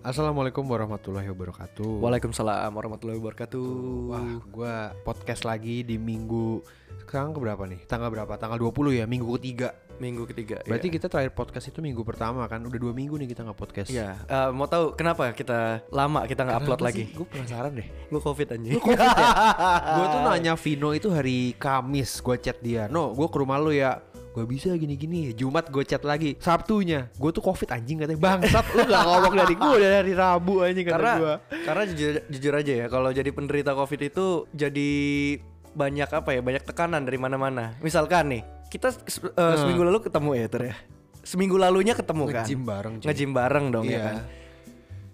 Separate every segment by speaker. Speaker 1: Assalamualaikum warahmatullahi wabarakatuh.
Speaker 2: Waalaikumsalam warahmatullahi wabarakatuh.
Speaker 1: Wah, gue podcast lagi di minggu sekarang keberapa nih? Tanggal berapa? Tanggal 20 ya, minggu ketiga.
Speaker 2: Minggu ketiga.
Speaker 1: Berarti
Speaker 2: ya.
Speaker 1: kita terakhir podcast itu minggu pertama kan? Udah dua minggu nih kita nggak podcast.
Speaker 2: Iya. Eh, mau tahu kenapa kita lama kita nggak upload lagi? Ah.
Speaker 1: Gue penasaran deh.
Speaker 2: Gue covid ya? anjing.
Speaker 1: gue tuh nanya Vino itu hari Kamis. Gue chat dia. No, gue ke rumah lu ya. Gue bisa gini-gini. Jumat gue chat lagi. Sabtunya, gue tuh covid anjing katanya. Bangsat, lu gak ngomong dari gue dari hari Rabu anjing kata
Speaker 2: karena
Speaker 1: gue.
Speaker 2: karena jujur, jujur aja ya kalau jadi penderita covid itu jadi banyak apa ya banyak tekanan dari mana-mana misalkan nih kita se- eh,
Speaker 1: Hmm.
Speaker 2: seminggu lalu ketemu ya ter ya seminggu lalunya ketemu kan
Speaker 1: Nge-gym bareng, cuy.
Speaker 2: Nge-gym bareng dong
Speaker 1: Iya.
Speaker 2: ya kan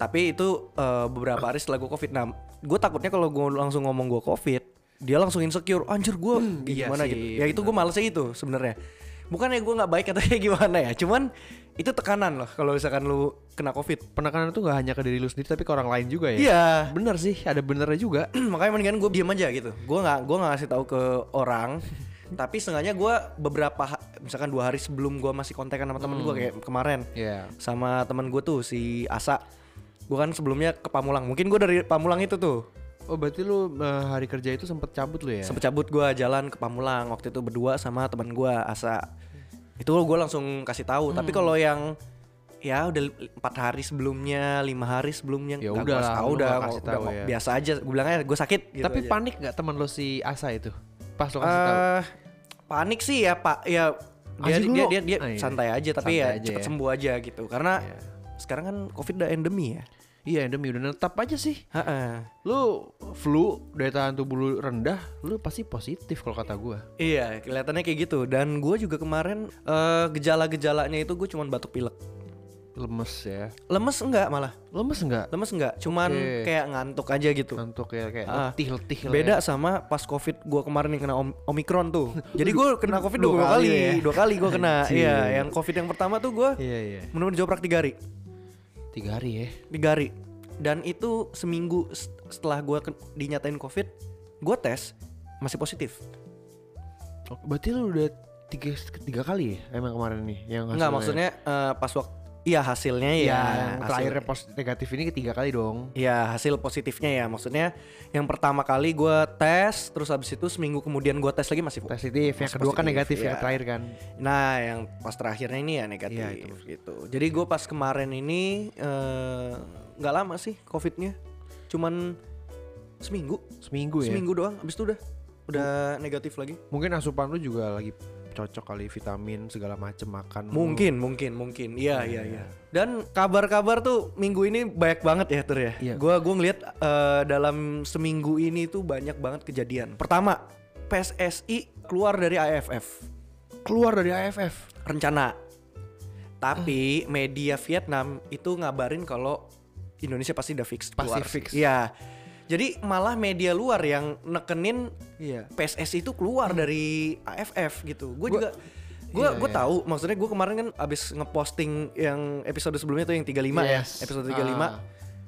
Speaker 2: tapi itu eh, beberapa hari setelah gue covid nah gue takutnya kalau gue langsung ngomong gue covid dia langsung insecure anjir gue
Speaker 1: iya
Speaker 2: gimana
Speaker 1: sih,
Speaker 2: gitu ya itu gue malesnya itu sebenarnya bukannya gue nggak baik katanya gimana ya cuman itu tekanan loh kalau misalkan lu kena covid
Speaker 1: Penekanan itu gak hanya ke diri lu sendiri tapi ke orang lain juga ya.
Speaker 2: iya
Speaker 1: Bener sih, ada benernya juga.
Speaker 2: makanya mendingan gue diem aja gitu gue nggak gue nggak ngasih tahu ke orang tapi setengahnya gue beberapa ha- misalkan dua hari sebelum gue masih kontekan sama temen gue
Speaker 1: Hmm.
Speaker 2: kayak kemarin
Speaker 1: Iya.
Speaker 2: sama temen gue tuh si Asa gue kan sebelumnya ke Pamulang mungkin gue dari Pamulang itu tuh
Speaker 1: Oh berarti lu eh, hari kerja itu sempet cabut lu ya?
Speaker 2: sempet cabut gue jalan ke Pamulang waktu itu berdua sama temen gue Asa itu gue langsung kasih tahu tapi
Speaker 1: Hmm.
Speaker 2: kalau yang ya udah li- empat hari sebelumnya lima hari sebelumnya
Speaker 1: Ya udah
Speaker 2: nggak gua kasih
Speaker 1: lah,
Speaker 2: tahu
Speaker 1: lu
Speaker 2: udah,
Speaker 1: nggak kasih
Speaker 2: udah
Speaker 1: tahu
Speaker 2: mau-
Speaker 1: ya.
Speaker 2: biasa aja gue bilangnya gue sakit gitu
Speaker 1: Tapi
Speaker 2: aja.
Speaker 1: panik nggak teman lu si Asa itu? Pas lu kasih tahu.
Speaker 2: eh panik sih ya pak ya dia
Speaker 1: Anjing
Speaker 2: dia,
Speaker 1: lu.
Speaker 2: dia, dia
Speaker 1: Ah, iya.
Speaker 2: santai aja tapi
Speaker 1: Santai
Speaker 2: ya
Speaker 1: aja
Speaker 2: cepet
Speaker 1: ya.
Speaker 2: sembuh aja gitu karena
Speaker 1: Iya.
Speaker 2: sekarang kan covid udah endemi ya
Speaker 1: Iya endemi udah netap aja sih.
Speaker 2: Heeh.
Speaker 1: Lu flu daya tahan tubuh lu rendah, lu pasti positif kalau kata gua.
Speaker 2: iya kelihatannya kayak gitu dan gue juga kemarin eh, gejala-gejalanya itu gue cuman batuk pilek
Speaker 1: Lemes ya.
Speaker 2: lemes enggak malah
Speaker 1: Lemes nggak?
Speaker 2: lemes enggak cuman
Speaker 1: Oke.
Speaker 2: kayak ngantuk aja gitu
Speaker 1: Iya. Ngantuk ya kayak
Speaker 2: Ah.
Speaker 1: letih-letih lah
Speaker 2: beda
Speaker 1: ya.
Speaker 2: sama pas covid gue kemarin yang kena om- omikron tuh jadi gue kena covid
Speaker 1: dua
Speaker 2: dua,
Speaker 1: kali
Speaker 2: kali,
Speaker 1: ya?
Speaker 2: dua kali gue kena
Speaker 1: Anjing.
Speaker 2: iya yang covid yang pertama tuh gue
Speaker 1: Iya iya.
Speaker 2: menurut joprak tiga hari
Speaker 1: Tiga hari ya.
Speaker 2: digari dan itu seminggu s- setelah gue dinyatain covid gue tes masih positif
Speaker 1: Oh, Berarti lu udah tiga tiga kali ya emang kemarin nih yang
Speaker 2: nggak
Speaker 1: hasilnya?
Speaker 2: maksudnya eh, pas waktu iya hasilnya
Speaker 1: ya? Iya,
Speaker 2: ya,
Speaker 1: yang terakhirnya pos negatif ini ketiga kali dong.
Speaker 2: Ya hasil positifnya ya maksudnya yang pertama kali gue tes terus habis itu seminggu kemudian gue tes lagi masih po-
Speaker 1: Positif, yang
Speaker 2: Masih
Speaker 1: kedua kan
Speaker 2: positif,
Speaker 1: negatif, yang
Speaker 2: iya.
Speaker 1: terakhir kan.
Speaker 2: nah yang pas terakhirnya ini ya negatif
Speaker 1: Iya, itu
Speaker 2: gitu jadi gue pas kemarin ini eh, nggak lama sih covidnya cuman seminggu
Speaker 1: Seminggu ya.
Speaker 2: seminggu doang habis itu udah udah negatif lagi
Speaker 1: Mungkin asupan lu juga lagi cocok kali vitamin segala macem makan. lu.
Speaker 2: Mungkin, mungkin, mungkin. Iya, iya, iya. Dan kabar-kabar tuh minggu ini banyak banget ya, Ter ya.
Speaker 1: Iya.
Speaker 2: Gua gua ngelihat eh, dalam seminggu ini tuh banyak banget kejadian. Pertama, PSSI keluar dari AFF.
Speaker 1: keluar dari AFF.
Speaker 2: Rencana. Tapi
Speaker 1: Hmm.
Speaker 2: media Vietnam itu ngabarin kalau Indonesia pasti udah fix
Speaker 1: Pasti
Speaker 2: keluar.
Speaker 1: fix.
Speaker 2: Iya. Jadi malah media luar yang nekenin
Speaker 1: Iya. Hmm.
Speaker 2: PSSI itu keluar dari AFF gitu. Gue
Speaker 1: Gua-
Speaker 2: juga gue
Speaker 1: Iya,
Speaker 2: gue
Speaker 1: iya.
Speaker 2: tahu maksudnya gue kemarin kan abis ngeposting yang episode sebelumnya tuh yang 35 ya
Speaker 1: Yes.
Speaker 2: episode
Speaker 1: Ah.
Speaker 2: 35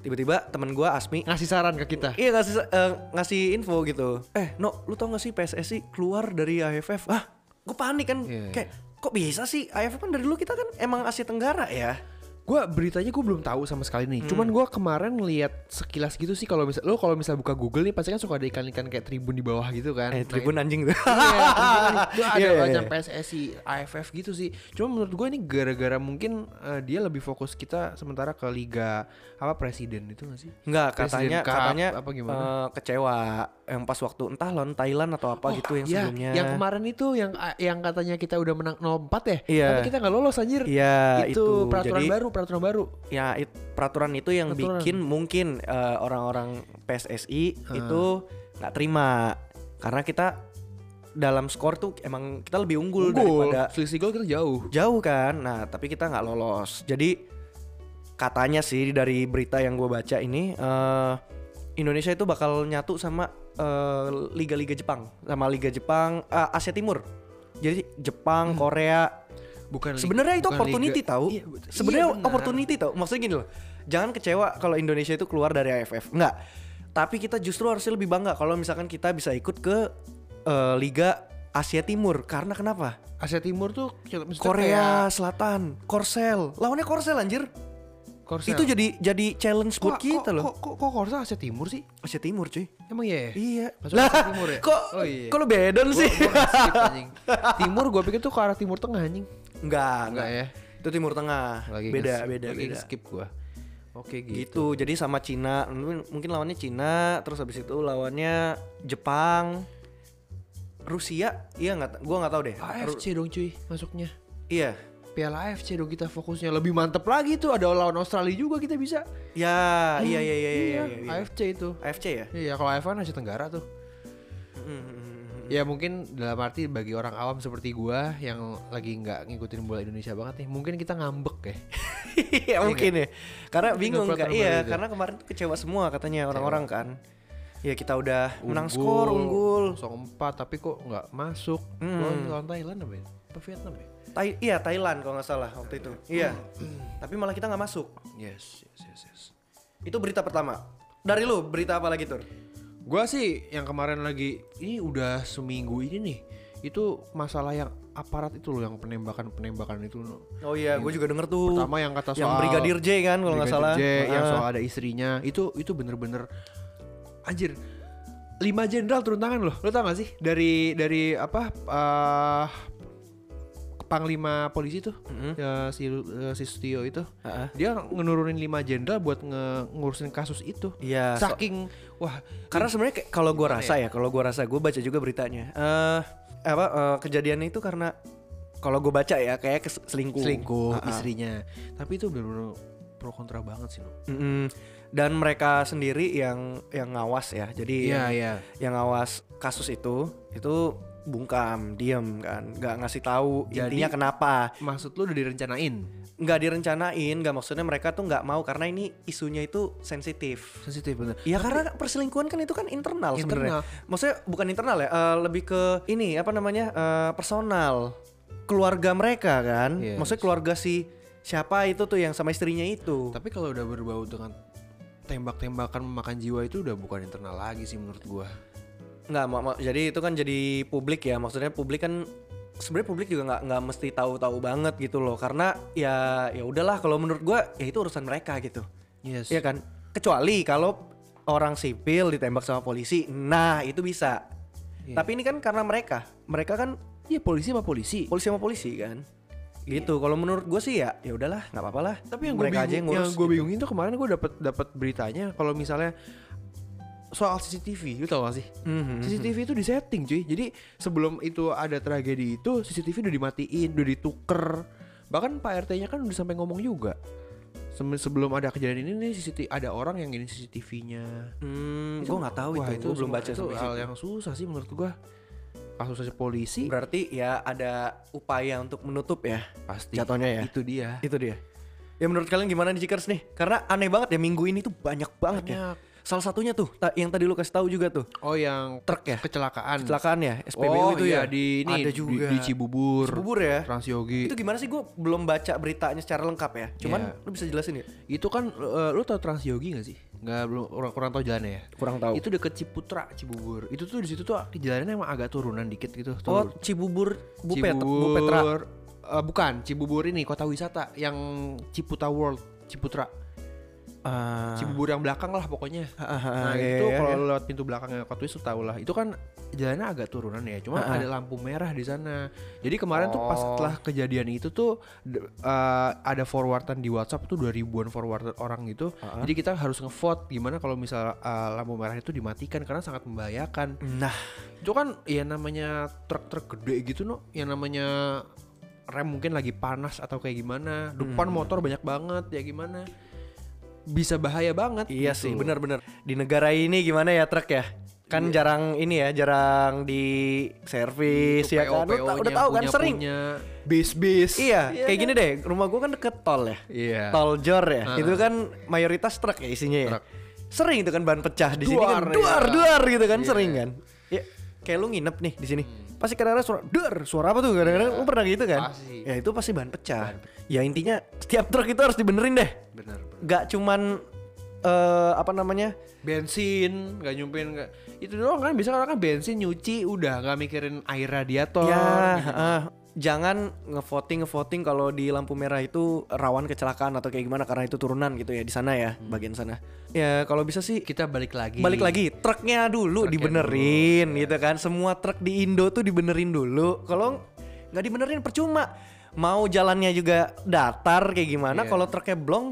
Speaker 2: tiba-tiba temen gue Asmi
Speaker 1: Ngasih saran ke kita.
Speaker 2: iya ngasih eh, ngasih info gitu eh no lu tau gak sih PSSI keluar dari AFF ah gue panik kan
Speaker 1: Iya,
Speaker 2: kayak kok bisa sih AFF kan dari dulu kita kan emang Asia Tenggara
Speaker 1: Iya,
Speaker 2: ya
Speaker 1: Gue beritanya gue belum tahu sama sekali
Speaker 2: Hmm.
Speaker 1: nih. Cuman gue kemarin lihat sekilas gitu sih kalau misal lo kalau misal buka Google nih pasti kan suka ada ikan-ikan kayak Tribun di bawah gitu kan.
Speaker 2: eh
Speaker 1: Nah,
Speaker 2: Tribun anjing tuh
Speaker 1: Iya, itu ada
Speaker 2: Iya, iya,
Speaker 1: macam
Speaker 2: iya.
Speaker 1: PSSI, AFF gitu sih. Cuma menurut gue ini gara-gara mungkin eh, dia lebih fokus kita sementara ke liga apa presiden itu gak sih?
Speaker 2: Enggak
Speaker 1: Presiden
Speaker 2: katanya
Speaker 1: Cup,
Speaker 2: katanya
Speaker 1: apa gimana?
Speaker 2: eh, kecewa yang pas waktu entah lawan Thailand atau apa gitu yang
Speaker 1: Iya,
Speaker 2: sebelumnya
Speaker 1: yang kemarin itu yang yang katanya kita udah menang 0-4 ya.
Speaker 2: Iya.
Speaker 1: Tapi kita nggak lolos anjir.
Speaker 2: Iya
Speaker 1: itu,
Speaker 2: itu,
Speaker 1: peraturan
Speaker 2: Jadi,
Speaker 1: baru, peraturan baru.
Speaker 2: Ya it- peraturan itu yang
Speaker 1: Peraturan.
Speaker 2: bikin mungkin eh, orang-orang PSSI itu nggak terima karena kita dalam skor tuh emang kita lebih unggul, daripada
Speaker 1: selisih gol kita jauh.
Speaker 2: jauh kan. Nah tapi kita nggak lolos. Jadi katanya sih dari berita yang gue baca ini eh, Indonesia itu bakal nyatu sama eh, liga-liga Jepang, sama liga Jepang eh, Asia Timur. Jadi Jepang, Korea,
Speaker 1: Bukan li-
Speaker 2: Sebenarnya itu
Speaker 1: bukan
Speaker 2: opportunity
Speaker 1: liga-
Speaker 2: tahu.
Speaker 1: Iya, bet-
Speaker 2: Sebenarnya
Speaker 1: iya, benar.
Speaker 2: opportunity tahu. Maksudnya gini loh. Jangan kecewa kalau Indonesia itu keluar dari AFF. Enggak. Tapi kita justru harusnya lebih bangga kalau misalkan kita bisa ikut ke eh, Liga Asia Timur. Karena kenapa?
Speaker 1: Asia Timur tuh kayak- maksudnya
Speaker 2: Korea Selatan, Korsel. Lawannya Korsel anjir.
Speaker 1: kayak Korsel.
Speaker 2: Itu jadi jadi challenge buat
Speaker 1: Kok-
Speaker 2: kita
Speaker 1: kok-
Speaker 2: loh.
Speaker 1: Kok kok kok Korsel Asia Timur sih?
Speaker 2: Asia Timur cuy.
Speaker 1: Emang iya. ya?
Speaker 2: Iya.
Speaker 1: Masuk
Speaker 2: Lah,
Speaker 1: Asia Timur ya?
Speaker 2: kok
Speaker 1: Oh iya.
Speaker 2: kok lu bedon
Speaker 1: Gua-
Speaker 2: sih?
Speaker 1: gua nggak Iya, skip, anjing. Timur gue pikir tuh ke arah timur tengah anjing.
Speaker 2: Enggak,
Speaker 1: Enggak ya.
Speaker 2: Itu Timur Tengah.
Speaker 1: Lagi
Speaker 2: beda,
Speaker 1: nge-
Speaker 2: beda,
Speaker 1: lagi
Speaker 2: beda.
Speaker 1: skip gua. Oke gitu.
Speaker 2: Gitu. Jadi sama Cina, mungkin mungkin lawannya Cina, terus habis itu lawannya Jepang. Rusia, iya nggak, ta- gua nggak tahu deh. Ru-
Speaker 1: AFC dong cuy masuknya.
Speaker 2: iya,
Speaker 1: Piala AFC dong kita fokusnya lebih mantep lagi tuh ada lawan Australia juga kita bisa.
Speaker 2: ya, iya, iya, iya, iya, iya, iya.
Speaker 1: AFC itu.
Speaker 2: AFC ya.
Speaker 1: Iya kalau AFC kan Asia Tenggara tuh.
Speaker 2: Mm, mm, mm, mm.
Speaker 1: Ya mungkin dalam arti bagi orang awam seperti gua yang lagi nggak ngikutin bola Indonesia banget nih, mungkin kita ngambek ya.
Speaker 2: Iya mungkin ya. Karena
Speaker 1: Mungkin
Speaker 2: bingung
Speaker 1: nggak
Speaker 2: kan.
Speaker 1: pernah
Speaker 2: Iya,
Speaker 1: gitu.
Speaker 2: karena kemarin tuh kecewa semua katanya orang-orang kan. Ya kita udah menang
Speaker 1: Unggul, Mm-hmm.
Speaker 2: skor unggul.
Speaker 1: 0-4 tapi kok nggak masuk.
Speaker 2: Hmm.
Speaker 1: Lawan lawan Thailand apa ya? Apa Vietnam ya?
Speaker 2: Tai iya Thailand kalau nggak salah waktu itu. Iya. Tapi malah kita nggak masuk.
Speaker 1: Yes, yes, yes, yes.
Speaker 2: Itu berita pertama. Dari lu berita apa lagi tur?
Speaker 1: Gua sih yang kemarin lagi ini udah seminggu ini nih. Itu masalah yang aparat itu loh yang penembakan-penembakan itu loh.
Speaker 2: Oh iya, gue juga denger tuh.
Speaker 1: Pertama yang kata soal
Speaker 2: yang Brigadir J kan kalau nggak
Speaker 1: Brigadir
Speaker 2: salah.
Speaker 1: J, yang
Speaker 2: Ah.
Speaker 1: soal ada istrinya. Itu itu bener-bener anjir. Lima jenderal turun tangan loh. Lo tau gak sih dari dari apa eh, panglima polisi tuh
Speaker 2: Mm-mm.
Speaker 1: eh, si eh, si Sutio itu.
Speaker 2: Ah, ah.
Speaker 1: Dia ngenurunin lima jenderal buat nge- ngurusin kasus itu.
Speaker 2: Iya. so-
Speaker 1: Saking wah
Speaker 2: Karena sebenarnya kayak- kalau gua rasa ya, kalau gua rasa gua baca juga beritanya. Eh apa eh, kejadiannya itu karena kalau gua baca ya kayak kes- selingkuh.
Speaker 1: selingkuh
Speaker 2: Ah, ah.
Speaker 1: istrinya. Tapi itu bener-bener pro kontra banget sih. Nom.
Speaker 2: Mm-mm. Dan mereka sendiri yang yang ngawas ya. Jadi
Speaker 1: Iya,
Speaker 2: yang-
Speaker 1: iya.
Speaker 2: yang ngawas kasus itu itu bungkam, diem kan, nggak ngasih tahu
Speaker 1: Jadi-
Speaker 2: intinya kenapa.
Speaker 1: Maksud lu udah direncanain?
Speaker 2: Nggak direncanain, nggak maksudnya mereka tuh nggak mau karena ini isunya itu sensitif.
Speaker 1: Sensitif bener.
Speaker 2: Ya karena perselingkuhan kan itu kan internal,
Speaker 1: Iya Internal.
Speaker 2: sebenarnya. Maksudnya bukan internal ya, eh, lebih ke ini apa namanya eh, personal keluarga mereka kan.
Speaker 1: Yes.
Speaker 2: Maksudnya keluarga si siapa itu tuh yang sama istrinya itu.
Speaker 1: Tapi kalau udah berbau dengan tembak-tembakan memakan jiwa itu udah bukan internal lagi sih menurut gua.
Speaker 2: Nggak, mak- mak- jadi itu kan jadi publik ya. Maksudnya publik kan sebenarnya publik juga nggak nggak mesti tahu-tahu banget gitu loh. Karena ya ya udahlah kalau menurut gua ya itu urusan mereka gitu.
Speaker 1: Yes.
Speaker 2: Iya kan? Kecuali kalau orang sipil ditembak sama polisi, nah itu bisa.
Speaker 1: Iya.
Speaker 2: Tapi ini kan karena mereka, mereka kan
Speaker 1: Iya polisi sama polisi.
Speaker 2: polisi sama polisi kan. Gitu. Kalau menurut gua sih ya ya udahlah, nggak apa-apa lah.
Speaker 1: Tapi yang gue bingung,
Speaker 2: mereka aja yang
Speaker 1: yang
Speaker 2: ngurus.
Speaker 1: gue
Speaker 2: gitu.
Speaker 1: bingungin tuh kemarin gue dapat dapat beritanya kalau misalnya soal CCTV, lu tau gak sih?
Speaker 2: Mhm.
Speaker 1: CCTV itu disetting cuy. Jadi sebelum itu ada tragedi itu CCTV udah dimatiin, udah dituker. Bahkan Pak RT-nya kan udah sampai ngomong juga. Sem- Sebelum ada kejadian ini nih CCTV ada orang yang ini CCTV-nya.
Speaker 2: Hmm, gua nggak tahu itu, gua belum baca
Speaker 1: itu
Speaker 2: sampai
Speaker 1: hal
Speaker 2: situ.
Speaker 1: yang susah sih menurut gua. Kasus aja polisi
Speaker 2: Berarti ya ada upaya untuk menutup ya.
Speaker 1: pasti
Speaker 2: jatuhnya ya.
Speaker 1: itu dia.
Speaker 2: Itu dia. Ya menurut kalian gimana nih Jikers nih? Karena aneh banget ya minggu ini tuh banyak banget ya.
Speaker 1: Banyak.
Speaker 2: Salah satunya tuh ta- yang tadi lu kasih tahu juga tuh.
Speaker 1: Oh yang
Speaker 2: Truk ya?
Speaker 1: kecelakaan.
Speaker 2: Kecelakaan ya SPBU
Speaker 1: oh
Speaker 2: itu
Speaker 1: iya,
Speaker 2: ya.
Speaker 1: di ini
Speaker 2: ada
Speaker 1: di-
Speaker 2: juga
Speaker 1: di, Cibubur.
Speaker 2: Cibubur ya.
Speaker 1: Transyogi.
Speaker 2: Itu
Speaker 1: Itu,
Speaker 2: gimana sih gue belum baca beritanya secara lengkap ya. Cuman
Speaker 1: Iya.
Speaker 2: lu bisa jelasin ya?
Speaker 1: kan eh, lu tau Transyogi gak sih? Nggak belum orang kurang tau jalannya ya.
Speaker 2: Kurang tahu.
Speaker 1: Itu deket Ciputra, Cibubur. Itu tuh di situ tuh jalannya emang agak turunan dikit gitu.
Speaker 2: oh,
Speaker 1: turun.
Speaker 2: Cibubur Bupet
Speaker 1: Cibubur.
Speaker 2: Bupetra.
Speaker 1: eh, bukan, Cibubur ini kota wisata yang Ciputa World, Ciputra.
Speaker 2: Ah.
Speaker 1: Cibubur yang belakang lah pokoknya.
Speaker 2: Ah, ah,
Speaker 1: Nah
Speaker 2: ah, iya,
Speaker 1: itu
Speaker 2: iya,
Speaker 1: kalau
Speaker 2: iya.
Speaker 1: lewat pintu belakangnya Kotwis tuh tau lah Itu kan jalannya agak turunan ya Cuma
Speaker 2: Ah, ah.
Speaker 1: ada lampu merah di sana Jadi kemarin tuh pas
Speaker 2: Oh.
Speaker 1: setelah kejadian itu tuh d- eh, Ada forwardan di Whatsapp tuh 2000an forwardan orang gitu
Speaker 2: Ah, ah.
Speaker 1: Jadi kita harus ngevote Gimana kalau misal eh, lampu merah itu dimatikan Karena sangat membahayakan
Speaker 2: Nah,
Speaker 1: Itu kan ya namanya truk-truk gede gitu no Yang namanya rem mungkin lagi panas atau kayak gimana Depan
Speaker 2: Hmm.
Speaker 1: motor banyak banget ya gimana bisa bahaya banget
Speaker 2: iya
Speaker 1: gitu
Speaker 2: sih,
Speaker 1: loh.
Speaker 2: benar-benar. Di negara ini gimana ya truk ya? Kan
Speaker 1: Iya.
Speaker 2: jarang ini ya, jarang di servis ya kan. Lu ta- udah tahu kan sering.
Speaker 1: bis bis
Speaker 2: Iya, kayak gini deh. Rumah gua kan deket tol ya.
Speaker 1: iya
Speaker 2: Tol jor ya.
Speaker 1: Heeh.
Speaker 2: Itu kan mayoritas truk ya isinya ya.
Speaker 1: Truk.
Speaker 2: Sering itu kan bahan pecah di sini
Speaker 1: Duar,
Speaker 2: kan duar
Speaker 1: iya.
Speaker 2: duar gitu kan
Speaker 1: Iya. Hmm.
Speaker 2: sering kan. Ya, kayak lu nginep nih di sini. Pasti kadang-kadang suara duar, suara apa tuh? Kadang-kadang lu pernah gitu kan?
Speaker 1: Pasti.
Speaker 2: Ya itu pasti bahan pecah. Ya intinya setiap truk itu harus dibenerin deh.
Speaker 1: benar benar.
Speaker 2: Gak cuman eh apa namanya?
Speaker 1: bensin nggak nyumpin nggak itu doang kan bisa orang kan bensin nyuci udah nggak mikirin air radiator
Speaker 2: ya,
Speaker 1: gitu.
Speaker 2: heeh. jangan ngevoting ngevoting kalau di lampu merah itu rawan kecelakaan atau kayak gimana karena itu turunan gitu ya di sana ya
Speaker 1: Hmm.
Speaker 2: bagian sana ya kalau bisa sih
Speaker 1: Kita balik lagi.
Speaker 2: balik lagi truknya dulu
Speaker 1: Hmm. Truknya ya.
Speaker 2: dibenerin gitu kan semua truk di Indo tuh dibenerin dulu kalau nggak dibenerin percuma mau jalannya juga datar kayak gimana
Speaker 1: Iya.
Speaker 2: kalau truknya blong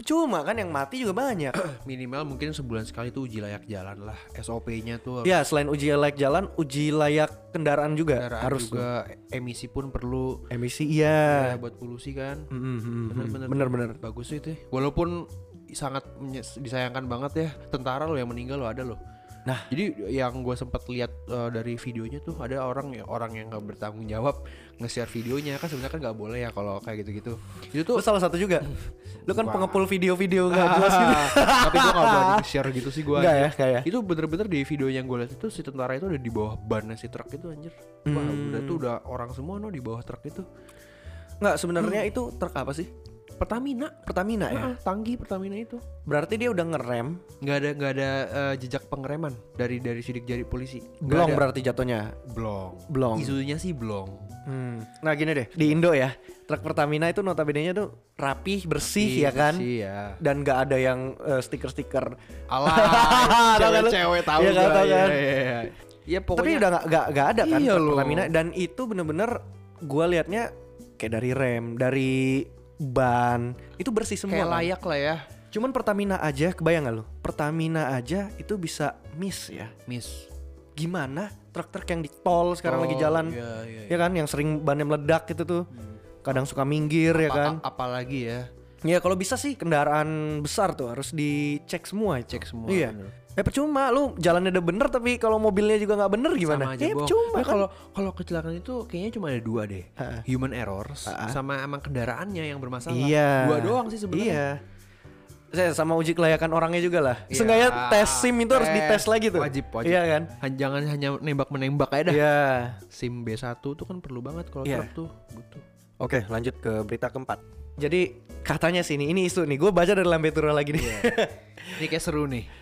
Speaker 2: percuma kan yang mati juga banyak
Speaker 1: Ah, Minimal mungkin sebulan sekali tuh uji layak jalan lah. SOP-nya tuh
Speaker 2: ya selain uji layak jalan uji layak kendaraan juga
Speaker 1: kendaraan
Speaker 2: harus tuh.
Speaker 1: juga e-, emisi pun perlu
Speaker 2: emisi iya
Speaker 1: ya, buat polusi kan.
Speaker 2: Mm, mm, mm, mm.
Speaker 1: Bener-bener.
Speaker 2: bener-bener
Speaker 1: Bagus itu. ya. Walaupun sangat menyes- disayangkan banget ya tentara lo yang meninggal lo ada lo.
Speaker 2: Nah.
Speaker 1: jadi yang gue sempat lihat eh, dari videonya tuh ada orang ya orang yang nggak bertanggung jawab nge-share videonya kan sebenarnya kan nggak boleh ya kalau kayak gitu-gitu. Itu tuh
Speaker 2: Lu salah satu juga. Lu kan
Speaker 1: Wah.
Speaker 2: pengepul video-video nggak jelas gitu.
Speaker 1: ah, tapi gue gak berani share gitu sih gue
Speaker 2: Nggak ya, nggak ya.
Speaker 1: itu bener-bener di video yang gue lihat itu si tentara itu ada di bawah bannya si truk itu anjir wah udah
Speaker 2: Hmm.
Speaker 1: tuh udah orang semua no di bawah truk itu
Speaker 2: Nggak sebenarnya itu truk apa sih?
Speaker 1: Pertamina
Speaker 2: Pertamina
Speaker 1: Ah,
Speaker 2: ya.
Speaker 1: tangki Pertamina itu
Speaker 2: Berarti dia udah ngerem,
Speaker 1: nggak ada nggak ada eh, jejak pengereman dari dari sidik jari polisi Nggak
Speaker 2: blong
Speaker 1: ada.
Speaker 2: berarti jatuhnya.
Speaker 1: blong
Speaker 2: Blong.
Speaker 1: isunya sih blong
Speaker 2: Hmm. Nah gini deh, di Indo ya, truk Pertamina itu notabene-nya tuh rapih, bersih ya kan?
Speaker 1: sih ya
Speaker 2: Dan nggak ada yang eh, stiker-stiker.
Speaker 1: alah
Speaker 2: Tahu kan lu?
Speaker 1: cewek-cewek tahu
Speaker 2: Iya kan,
Speaker 1: gua,
Speaker 2: tahu
Speaker 1: iya,
Speaker 2: kan?
Speaker 1: iya, iya. ya
Speaker 2: Tapi
Speaker 1: pokoknya
Speaker 2: udah nggak nggak nggak ada kan
Speaker 1: Iya
Speaker 2: truk
Speaker 1: loh.
Speaker 2: Pertamina dan itu bener-bener gua liatnya kayak dari rem, dari ban, itu bersih semua.
Speaker 1: kayak
Speaker 2: kan?
Speaker 1: layak lah ya
Speaker 2: Cuman Pertamina aja, kebayang gak lo? Pertamina aja itu bisa miss ya.
Speaker 1: miss
Speaker 2: Gimana truk-truk yang di tol sekarang lagi
Speaker 1: Oh,
Speaker 2: jalan,
Speaker 1: iya, iya, Hmm.
Speaker 2: ya kan? Yang sering bannya meledak gitu tuh. Kadang suka minggir ya kan?
Speaker 1: A- apalagi ya
Speaker 2: Ya kalau bisa sih kendaraan besar tuh harus dicek semua itu.
Speaker 1: cek semua
Speaker 2: Iya.
Speaker 1: bener.
Speaker 2: Eh percuma lu jalannya udah bener tapi kalau mobilnya juga nggak bener gimana?
Speaker 1: sama aja
Speaker 2: ya
Speaker 1: bohong.
Speaker 2: percuma
Speaker 1: Nah,
Speaker 2: kan?
Speaker 1: kalau kalau kecelakaan itu kayaknya cuma ada dua deh
Speaker 2: Ha-ha.
Speaker 1: human errors
Speaker 2: Ha-ha.
Speaker 1: sama emang kendaraannya yang bermasalah
Speaker 2: Iya.
Speaker 1: dua doang sih sebenarnya
Speaker 2: Iya. Saya sama uji kelayakan orangnya juga lah.
Speaker 1: Iya.
Speaker 2: Seenggaknya tes SIM itu harus
Speaker 1: Tes.
Speaker 2: dites lagi tuh.
Speaker 1: Wajib, wajib.
Speaker 2: Iya kan?
Speaker 1: Han- jangan hanya nembak menembak aja dah
Speaker 2: Iya.
Speaker 1: sim B1 tuh kan perlu banget kalau
Speaker 2: Iya.
Speaker 1: truk tuh butuh
Speaker 2: Oke, lanjut ke berita keempat. Jadi katanya sih ini, ini isu nih. Gue baca dari Lambe Tura lagi
Speaker 1: Iya.
Speaker 2: nih.
Speaker 1: ini kayak seru nih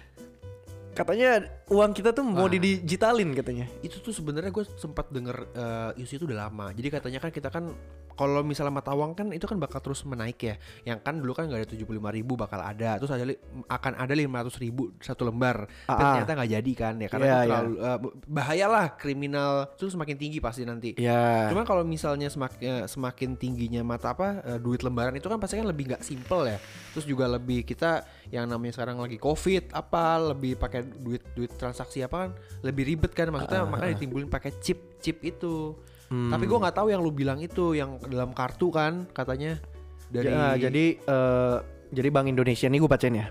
Speaker 2: katanya uang kita tuh mau
Speaker 1: Wah.
Speaker 2: didigitalin katanya.
Speaker 1: itu tuh sebenarnya gue sempat denger eh, isu itu udah lama jadi katanya kan kita kan kalau misalnya mata uang kan itu kan bakal terus menaik ya yang kan dulu kan nggak ada 75.000 ribu bakal ada terus ada li- akan ada 500.000 ribu satu lembar
Speaker 2: Ah,
Speaker 1: Tapi
Speaker 2: ah.
Speaker 1: ternyata nggak jadi kan ya karena
Speaker 2: Iya,
Speaker 1: itu
Speaker 2: iya.
Speaker 1: terlalu, eh, bahayalah kriminal itu semakin tinggi pasti nanti
Speaker 2: Iya.
Speaker 1: Cuman kalau misalnya semakin eh, semakin tingginya mata apa eh, duit lembaran itu kan pasti kan lebih nggak simple ya. Terus juga lebih kita yang namanya sekarang lagi covid apa lebih pakai duit duit transaksi apa kan lebih ribet kan maksudnya
Speaker 2: Ah,
Speaker 1: makanya ditimbulin pakai chip chip itu.
Speaker 2: Hmm.
Speaker 1: Tapi gua nggak tahu yang lu bilang itu yang dalam kartu kan katanya dari
Speaker 2: Ja- ah, jadi eh, jadi Bank Indonesia nih gue bacain ya.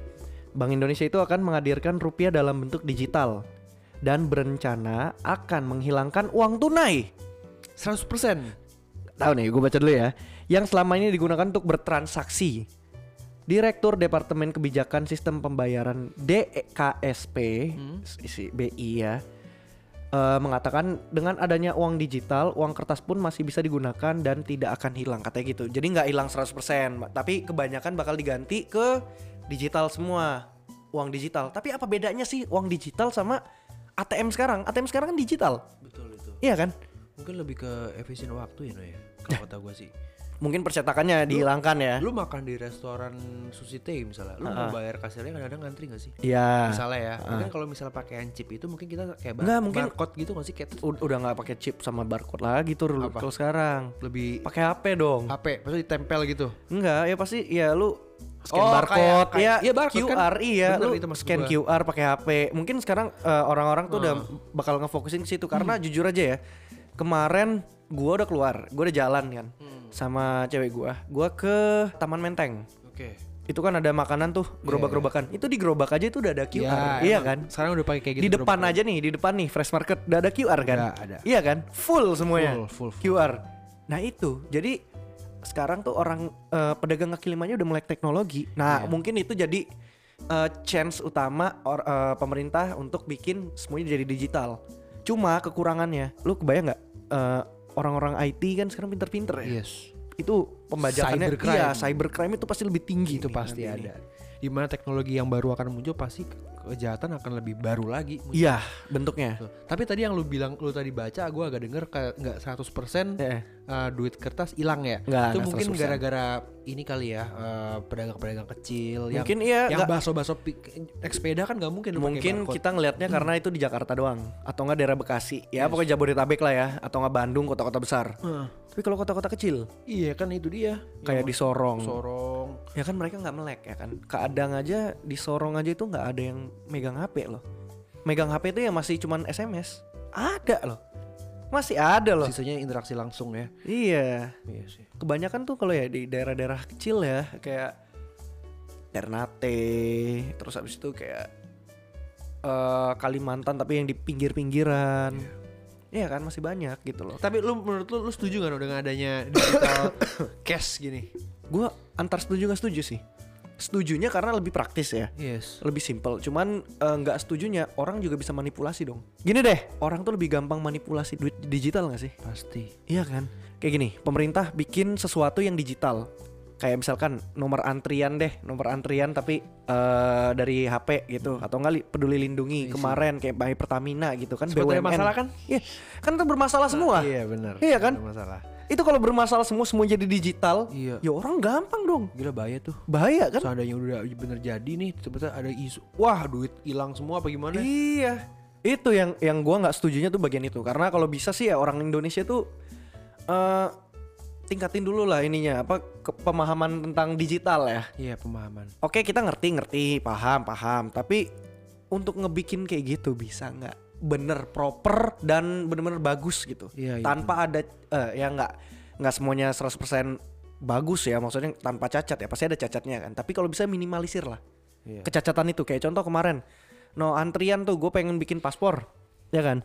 Speaker 2: Bank Indonesia itu akan menghadirkan rupiah dalam bentuk digital dan berencana akan menghilangkan uang tunai.
Speaker 1: 100%
Speaker 2: Tahu nih, gue baca dulu ya. Yang selama ini digunakan untuk bertransaksi. Direktur Departemen Kebijakan Sistem Pembayaran E DKSP isi BI ya. eh, mengatakan dengan adanya uang digital, uang kertas pun masih bisa digunakan dan tidak akan hilang katanya gitu. Jadi nggak hilang 100%, tapi kebanyakan bakal diganti ke digital semua. Uang digital. Tapi apa bedanya sih uang digital sama ATM sekarang? ATM sekarang kan digital.
Speaker 1: betul itu.
Speaker 2: Iya kan?
Speaker 1: Mungkin lebih ke efisien waktu ya no ya. Kalau kata gue sih.
Speaker 2: Mungkin percetakannya dihilangkan ya.
Speaker 1: Lu makan di restoran sushi teh misalnya, lu
Speaker 2: Ah,
Speaker 1: mau bayar kasirnya kadang-kadang ngantri gak sih?
Speaker 2: Iya.
Speaker 1: misalnya ya kan kalau misalnya pakaian chip itu mungkin kita kayak bar
Speaker 2: Nggak, mungkin-
Speaker 1: barcode gitu nggak sih kayak
Speaker 2: U- udah nggak pakai chip sama barcode lagi tuh dulu
Speaker 1: Apa?
Speaker 2: kalau sekarang
Speaker 1: lebih
Speaker 2: pakai HP dong
Speaker 1: HP maksudnya ditempel gitu
Speaker 2: enggak ya pasti ya lu scan
Speaker 1: Oh,
Speaker 2: barcode
Speaker 1: kayak- kayak-
Speaker 2: ya
Speaker 1: iya, barcode kan.
Speaker 2: QR iya
Speaker 1: Bener,
Speaker 2: lu
Speaker 1: itu maksud
Speaker 2: scan
Speaker 1: gua.
Speaker 2: QR pakai HP mungkin sekarang eh, orang-orang tuh udah bakal ngefokusin ke situ
Speaker 1: Hmm.
Speaker 2: karena jujur aja ya kemarin gua udah keluar gua udah jalan kan
Speaker 1: Hmm.
Speaker 2: sama cewek gua gua ke Taman Menteng
Speaker 1: oke
Speaker 2: itu kan ada makanan tuh
Speaker 1: Iya,
Speaker 2: gerobak-gerobakan itu di gerobak aja itu udah ada
Speaker 1: Ya,
Speaker 2: QR iya kan
Speaker 1: sekarang udah pakai kayak gitu
Speaker 2: di depan aja nih, di depan nih Fresh Market udah ada QR kan?
Speaker 1: Udah ada.
Speaker 2: Iya kan? Full semuanya.
Speaker 1: Full, full, full.
Speaker 2: QR. Nah, itu. Jadi sekarang tuh orang eh, pedagang kaki limanya udah melek teknologi. Nah,
Speaker 1: Iya.
Speaker 2: mungkin itu jadi eh, chance utama or- eh, pemerintah untuk bikin semuanya jadi digital. Cuma kekurangannya, lu kebayang nggak eh, orang-orang IT kan sekarang pinter-pinter ya?
Speaker 1: yes
Speaker 2: Itu
Speaker 1: Iya.
Speaker 2: pembajakannya
Speaker 1: Cybercrime.
Speaker 2: iya, cybercrime itu pasti lebih tinggi.
Speaker 1: itu
Speaker 2: nih
Speaker 1: pasti
Speaker 2: nanti nih.
Speaker 1: ada dimana teknologi yang baru akan muncul pasti ke- kejahatan akan lebih baru lagi muncul.
Speaker 2: Iya, bentuknya.
Speaker 1: Tuh. tapi tadi yang lu bilang lu tadi baca gue agak denger kayak nggak 100%
Speaker 2: Eh,
Speaker 1: eh, duit kertas hilang ya.
Speaker 2: Nggak,
Speaker 1: itu
Speaker 2: nggak
Speaker 1: mungkin
Speaker 2: 100%.
Speaker 1: gara-gara ini kali ya eh, pedagang-pedagang kecil yang
Speaker 2: Mungkin iya,
Speaker 1: yang
Speaker 2: nggak-
Speaker 1: baso-baso ekspeda kan nggak mungkin lu pakai
Speaker 2: Mungkin
Speaker 1: barcode.
Speaker 2: kita ngelihatnya karena itu di Jakarta doang atau enggak daerah Bekasi. Ya pokoknya Jabodetabek lah ya atau enggak Bandung kota-kota besar.
Speaker 1: Heeh.
Speaker 2: Tapi kalau kota-kota kecil
Speaker 1: iya kan itu dia.
Speaker 2: kayak di Sorong.
Speaker 1: Sorong.
Speaker 2: Ya kan mereka nggak melek ya kan. Keadang aja di Sorong aja itu nggak ada yang megang HP loh. Megang HP itu ya masih cuman SMS. Ada loh. Masih ada loh.
Speaker 1: Sisanya interaksi langsung ya.
Speaker 2: Iya.
Speaker 1: Iya sih.
Speaker 2: Kebanyakan tuh kalau ya di daerah-daerah kecil ya kayak Ternate, terus habis itu kayak eh, Kalimantan tapi yang di pinggir-pinggiran. Iya kan masih banyak gitu loh.
Speaker 1: Tapi lu menurut lu lu setuju gak dengan adanya digital Eh, cash gini?
Speaker 2: Gua antar setuju nggak setuju sih. Setujunya karena lebih praktis ya.
Speaker 1: Yes.
Speaker 2: lebih simpel cuman eh, nggak setujunya orang juga bisa manipulasi dong gini deh orang tuh lebih gampang manipulasi duit digital nggak sih
Speaker 1: Pasti.
Speaker 2: iya kan kayak gini pemerintah bikin sesuatu yang digital kayak misalkan nomor antrian deh nomor antrian tapi eh, dari HP gitu atau nggak li- peduli lindungi
Speaker 1: Iya sih.
Speaker 2: kemarin kayak by Pertamina gitu kan
Speaker 1: Sebetulnya
Speaker 2: BUMN.
Speaker 1: masalah kan?
Speaker 2: iya kan itu bermasalah semua
Speaker 1: Iya benar.
Speaker 2: Iya kan?
Speaker 1: Ada Masalah.
Speaker 2: itu kalau bermasalah semua semua jadi digital
Speaker 1: Iya.
Speaker 2: ya orang gampang dong
Speaker 1: Gila bahaya tuh.
Speaker 2: bahaya kan
Speaker 1: Seandainya udah bener jadi nih, tiba-tiba ada isu, wah duit hilang semua apa gimana?
Speaker 2: Iya. Itu yang yang gua nggak setujunya tuh bagian itu. Karena kalau bisa sih ya orang Indonesia tuh eh tingkatin dulu lah ininya apa ke- pemahaman tentang digital ya.
Speaker 1: Iya pemahaman.
Speaker 2: Oke, kita ngerti-ngerti, paham-paham, tapi untuk ngebikin kayak gitu bisa nggak? Bener proper dan bener-bener bagus gitu.
Speaker 1: Iya, iya,
Speaker 2: tanpa ada eh, ya nggak nggak semuanya 100% bagus ya maksudnya tanpa cacat ya pasti ada cacatnya kan tapi kalau bisa minimalisir lah
Speaker 1: Iya.
Speaker 2: kecacatan itu kayak contoh kemarin no antrian tuh gue pengen bikin paspor ya kan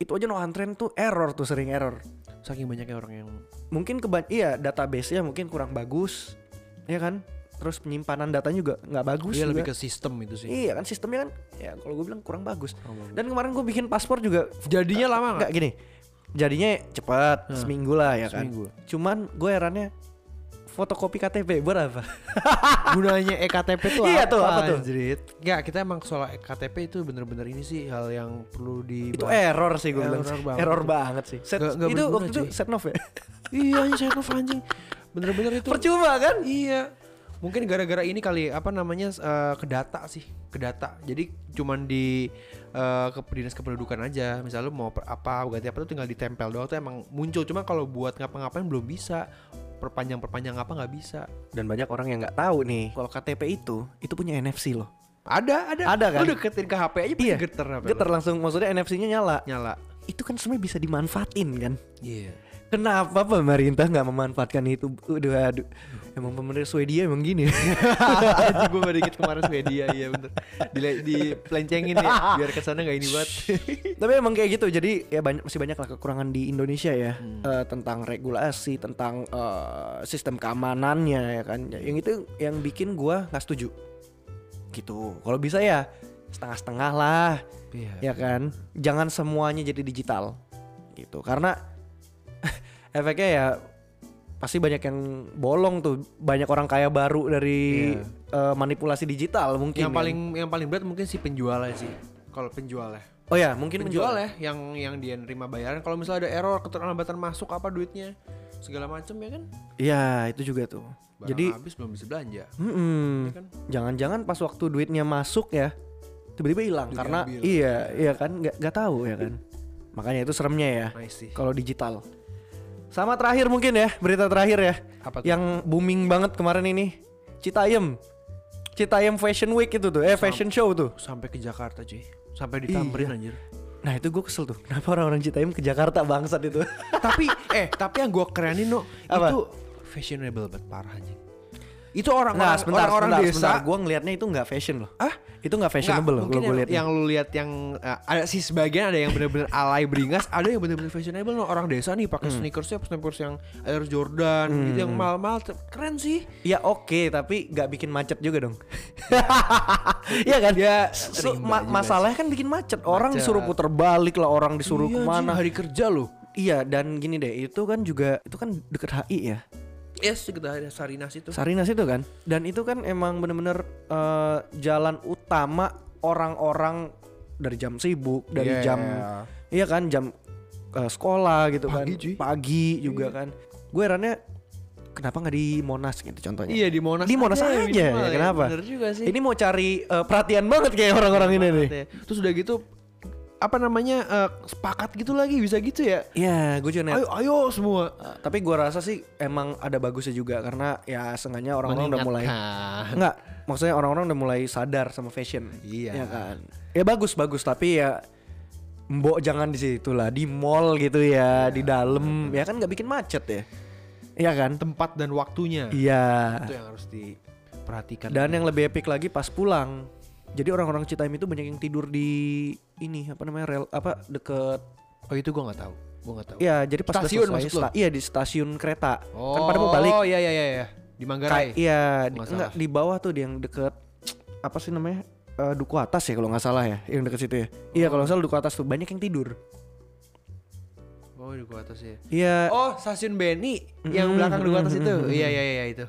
Speaker 2: itu aja no antrian tuh error tuh sering error
Speaker 1: Saking banyaknya orang yang
Speaker 2: mungkin keban iya database nya mungkin kurang bagus ya kan terus penyimpanan datanya juga nggak bagus
Speaker 1: dia Iya,
Speaker 2: juga.
Speaker 1: lebih ke sistem itu sih.
Speaker 2: iya kan sistemnya kan ya kalau gue bilang kurang bagus
Speaker 1: Kurang bagus.
Speaker 2: dan kemarin gue bikin paspor juga
Speaker 1: Jadinya lama nggak?
Speaker 2: nggak gini jadinya cepat
Speaker 1: Hah,
Speaker 2: seminggu lah ya kan
Speaker 1: seminggu.
Speaker 2: cuman gue herannya fotokopi KTP berapa
Speaker 1: Gunanya E EKTP tuh
Speaker 2: Iya tuh, apa tuh?
Speaker 1: Anjrit? Nggak, kita emang soal E EKTP itu bener-bener ini sih hal yang perlu di
Speaker 2: itu eh error sih gue bilang
Speaker 1: Error
Speaker 2: sih.
Speaker 1: banget
Speaker 2: error
Speaker 1: tuh.
Speaker 2: banget sih Set-
Speaker 1: Nggak- nggak
Speaker 2: itu
Speaker 1: berguna,
Speaker 2: waktu itu
Speaker 1: cuy.
Speaker 2: set ya
Speaker 1: iya anjing saya nuf, anjing. Bener-bener itu.
Speaker 2: percuma kan
Speaker 1: Iya. Mungkin gara-gara ini kali apa namanya eh, ke data sih, ke data. Jadi cuman di eh, ke dinas kependudukan aja. Misal lu mau per- apa ganti apa tuh tinggal ditempel doang tuh emang muncul. Cuma kalau buat ngapa-ngapain belum bisa. Perpanjang-perpanjang apa nggak bisa.
Speaker 2: dan banyak orang yang nggak tahu nih kalau KTP itu itu punya NFC loh
Speaker 1: Ada, ada.
Speaker 2: Ada kan?
Speaker 1: Lu deketin ke HP aja pasti
Speaker 2: Iya.
Speaker 1: geter apa
Speaker 2: geter langsung maksudnya NFC-nya nyala
Speaker 1: nyala.
Speaker 2: itu kan sebenarnya bisa dimanfaatin kan
Speaker 1: Iya.
Speaker 2: kenapa pemerintah nggak memanfaatkan itu udah aduh emang pemerintah Swedia emang gini
Speaker 1: Anjing gue baru inget kemarin Swedia iya bener di, dipelencengin ya biar kesana nggak ini banget
Speaker 2: tapi emang kayak gitu jadi ya banyak masih banyak lah kekurangan di Indonesia ya Eh, tentang regulasi tentang eh, sistem keamanannya ya kan yang itu yang bikin gua nggak setuju gitu kalau bisa ya setengah-setengah lah
Speaker 1: iya
Speaker 2: ya kan jangan semuanya jadi digital gitu karena efeknya ya pasti banyak yang bolong tuh banyak orang kaya baru dari
Speaker 1: Iya.
Speaker 2: eh, manipulasi digital mungkin
Speaker 1: yang
Speaker 2: kan.
Speaker 1: paling yang paling berat mungkin si penjualnya sih kalau penjualnya
Speaker 2: oh ya mungkin
Speaker 1: penjual ya yang yang dia nerima bayaran kalau misalnya ada error keterlambatan masuk apa duitnya segala macem ya kan
Speaker 2: Iya itu juga tuh.
Speaker 1: Barang
Speaker 2: Jadi
Speaker 1: habis belum bisa belanja
Speaker 2: mm-mm.
Speaker 1: Ya kan?
Speaker 2: jangan-jangan pas waktu duitnya masuk ya tiba-tiba hilang
Speaker 1: Duitnya
Speaker 2: karena
Speaker 1: ambil.
Speaker 2: iya iya kan nggak nggak tahu ya kan. Makanya itu seremnya ya
Speaker 1: nice sih
Speaker 2: kalau digital. Sama terakhir mungkin ya berita terakhir ya
Speaker 1: apa tuh?
Speaker 2: yang booming banget kemarin ini Citayam. Citayam Fashion Week itu tuh, eh fashion show tuh.
Speaker 1: sampai ke Jakarta cuy sampai ditamperin anjir
Speaker 2: Nah itu gue kesel tuh, kenapa orang-orang Citayam ke Jakarta bangsat itu?
Speaker 1: tapi eh tapi yang gue kerenin no
Speaker 2: Apa?
Speaker 1: itu fashionable banget parah anjing itu orang
Speaker 2: Nah,
Speaker 1: orang
Speaker 2: sebentar,
Speaker 1: orang
Speaker 2: sebentar,
Speaker 1: desa
Speaker 2: Gue ngelihatnya itu nggak fashion loh.
Speaker 1: ah
Speaker 2: Itu nggak fashionable loh,
Speaker 1: Nggak,
Speaker 2: gue
Speaker 1: mungkin
Speaker 2: lihat.
Speaker 1: yang, yang lu lihat yang eh, ada sih sebagian ada yang benar-benar alay beringas, ada yang benar-benar fashionable no. orang desa nih pakai
Speaker 2: Hmm.
Speaker 1: sneakersnya sneakers yang Air Jordan gitu yang mahal-mahal ter- keren sih.
Speaker 2: Ya oke, tapi nggak bikin macet juga dong. Iya kan? Ya,
Speaker 1: rimba juga
Speaker 2: masalahnya kan bikin macet. Orang
Speaker 1: Macet.
Speaker 2: disuruh puter balik lah, orang disuruh
Speaker 1: Iya,
Speaker 2: kemana.
Speaker 1: anjing, hari kerja loh.
Speaker 2: Iya, dan gini deh, itu kan juga itu kan deket HI ya.
Speaker 1: Yes, kita ada Sarinas itu.
Speaker 2: Sarinas itu kan. Dan itu kan emang bener-bener eh, jalan utama orang-orang dari jam sibuk,
Speaker 1: Iya.
Speaker 2: dari jam Iya kan, jam eh, sekolah gitu
Speaker 1: Pagi,
Speaker 2: kan
Speaker 1: cuy. Iya.
Speaker 2: pagi juga kan gue herannya kenapa nggak di Monas gitu contohnya
Speaker 1: Iya di Monas.
Speaker 2: Di Monas aja,
Speaker 1: minimal
Speaker 2: ya, kenapa?
Speaker 1: Bener juga sih.
Speaker 2: ini mau cari eh, perhatian banget kayak orang-orang ini nih
Speaker 1: Terus udah gitu apa namanya eh, sepakat gitu lagi bisa gitu ya.
Speaker 2: Iya, gue juga
Speaker 1: Ayo
Speaker 2: net.
Speaker 1: ayo semua.
Speaker 2: Eh, tapi gue rasa sih emang ada bagusnya juga karena ya sengaja orang-orang udah mulai
Speaker 1: Mengingatkan.
Speaker 2: Enggak, maksudnya orang-orang udah mulai sadar sama fashion.
Speaker 1: Iya.
Speaker 2: Ya kan. Ya bagus bagus tapi ya mbok jangan di situ lah, di mall gitu
Speaker 1: Iya,
Speaker 2: ya, di dalam ya kan nggak bikin macet ya. Iya kan?
Speaker 1: tempat dan waktunya.
Speaker 2: Iya.
Speaker 1: Itu yang harus diperhatikan.
Speaker 2: Dan yang lebih epic lagi pas pulang. Jadi orang-orang Citaim itu banyak yang tidur di ini apa namanya rel apa deket
Speaker 1: oh itu gua nggak tahu. Gua nggak tahu.
Speaker 2: ya jadi pas udah
Speaker 1: Stasiun
Speaker 2: selesai,
Speaker 1: maksud lo?
Speaker 2: sta- iya di stasiun kereta
Speaker 1: Oh,
Speaker 2: kan pada mau balik
Speaker 1: iya iya iya iya. Di Manggarai.
Speaker 2: Kayak iya, di,
Speaker 1: nggak
Speaker 2: enggak, di bawah tuh di yang deket apa sih namanya? Eh, duku atas ya kalau nggak salah ya, yang deket situ ya. Iya kalau nggak salah duku atas tuh banyak yang tidur.
Speaker 1: Oh di gua atas ya.
Speaker 2: Iya.
Speaker 1: Oh stasiun Beni yang belakang di atas itu. Iya iya iya itu.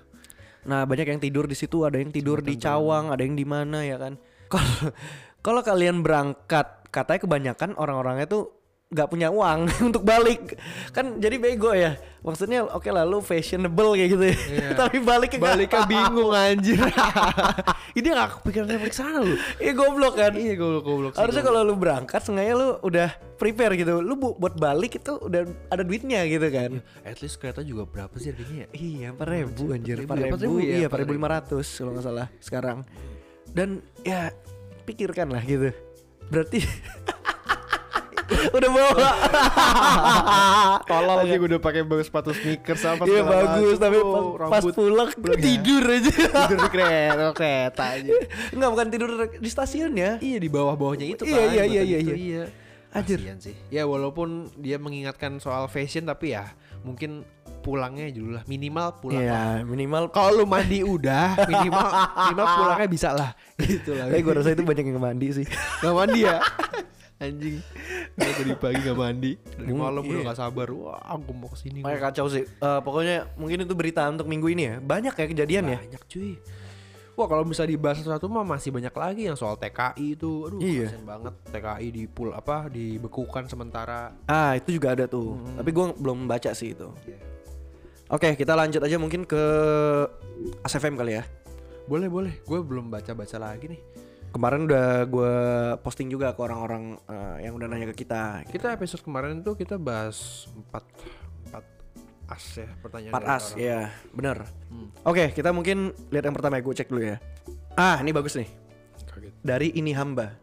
Speaker 2: Nah banyak yang tidur di situ, ada yang tidur di cawang, ada yang di mana ya kan. Kalau kalau kalian berangkat, katanya kebanyakan orang-orangnya tuh nggak punya uang untuk balik kan jadi bego ya maksudnya oke lah lu fashionable kayak gitu ya
Speaker 1: Iya.
Speaker 2: tapi balik
Speaker 1: Baliknya bingung anjir.
Speaker 2: ini nggak kepikiran
Speaker 1: Kenapa ke sana lu?
Speaker 2: iya goblok kan
Speaker 1: Iya goblok goblok. sih,
Speaker 2: Harusnya
Speaker 1: goblok.
Speaker 2: kalau lu berangkat sengaja lu udah prepare gitu. Lu bu- buat balik itu udah ada duitnya gitu kan.
Speaker 1: at least kereta juga berapa sih harganya ya?
Speaker 2: Iya, 4000 anjir,
Speaker 1: 4.000, ya,
Speaker 2: 4000. iya, 4500 kalau nggak salah sekarang. Dan ya pikirkan lah gitu. Berarti udah bawa.
Speaker 1: Ah, Tolol sih gue udah pakai bagus sepatu sneakers apa
Speaker 2: Iya
Speaker 1: segala
Speaker 2: bagus
Speaker 1: macam.
Speaker 2: tapi
Speaker 1: Oh,
Speaker 2: pas, pas
Speaker 1: rambut
Speaker 2: pulang
Speaker 1: belum ya.
Speaker 2: tidur aja.
Speaker 1: tidur di kereta kereta aja.
Speaker 2: Enggak bukan tidur di stasiun
Speaker 1: ya.
Speaker 2: ya.
Speaker 1: Iya di bawah-bawahnya itu
Speaker 2: Iya,
Speaker 1: kan.
Speaker 2: iya,
Speaker 1: jembatan
Speaker 2: iya, iya,
Speaker 1: itu,
Speaker 2: iya.
Speaker 1: Anjir.
Speaker 2: Anjir.
Speaker 1: Kasian sih. Ya walaupun dia mengingatkan soal fashion tapi ya mungkin pulangnya dulu lah minimal pulang lah.
Speaker 2: Iya, minimal
Speaker 1: Kalau lu mandi udah minimal minimal pulangnya bisa lah gitu lah.
Speaker 2: Eh gue rasa itu banyak yang mandi sih.
Speaker 1: Gak mandi ya Anjing Gue tadi pagi gak mandi Dari
Speaker 2: Hmm,
Speaker 1: malam udah
Speaker 2: iya.
Speaker 1: gak sabar Wah aku mau kesini
Speaker 2: Makanya kacau sih. Eh, pokoknya mungkin itu berita untuk minggu ini ya. Banyak ya kejadian ya.
Speaker 1: Banyak cuy Wah kalau bisa dibahas satu mah masih banyak lagi yang soal TKI itu Aduh
Speaker 2: Iya.
Speaker 1: kasihan banget TKI di pool apa dibekukan sementara
Speaker 2: Ah itu juga ada tuh. Tapi gue belum baca sih itu.
Speaker 1: Iya.
Speaker 2: Oke kita lanjut aja mungkin ke ASFM kali ya.
Speaker 1: Boleh boleh gue belum baca-baca lagi nih
Speaker 2: Kemarin udah gue posting juga ke orang-orang eh, yang udah nanya ke kita.
Speaker 1: Kita episode kemarin tuh kita bahas 4 4 as ya pertanyaan
Speaker 2: Part
Speaker 1: dari
Speaker 2: as
Speaker 1: orang.
Speaker 2: ya bener.
Speaker 1: Hmm.
Speaker 2: Oke kita mungkin lihat yang pertama ya. Gue cek dulu ya. Ah ini bagus nih.
Speaker 1: Kaget.
Speaker 2: Dari ini hamba.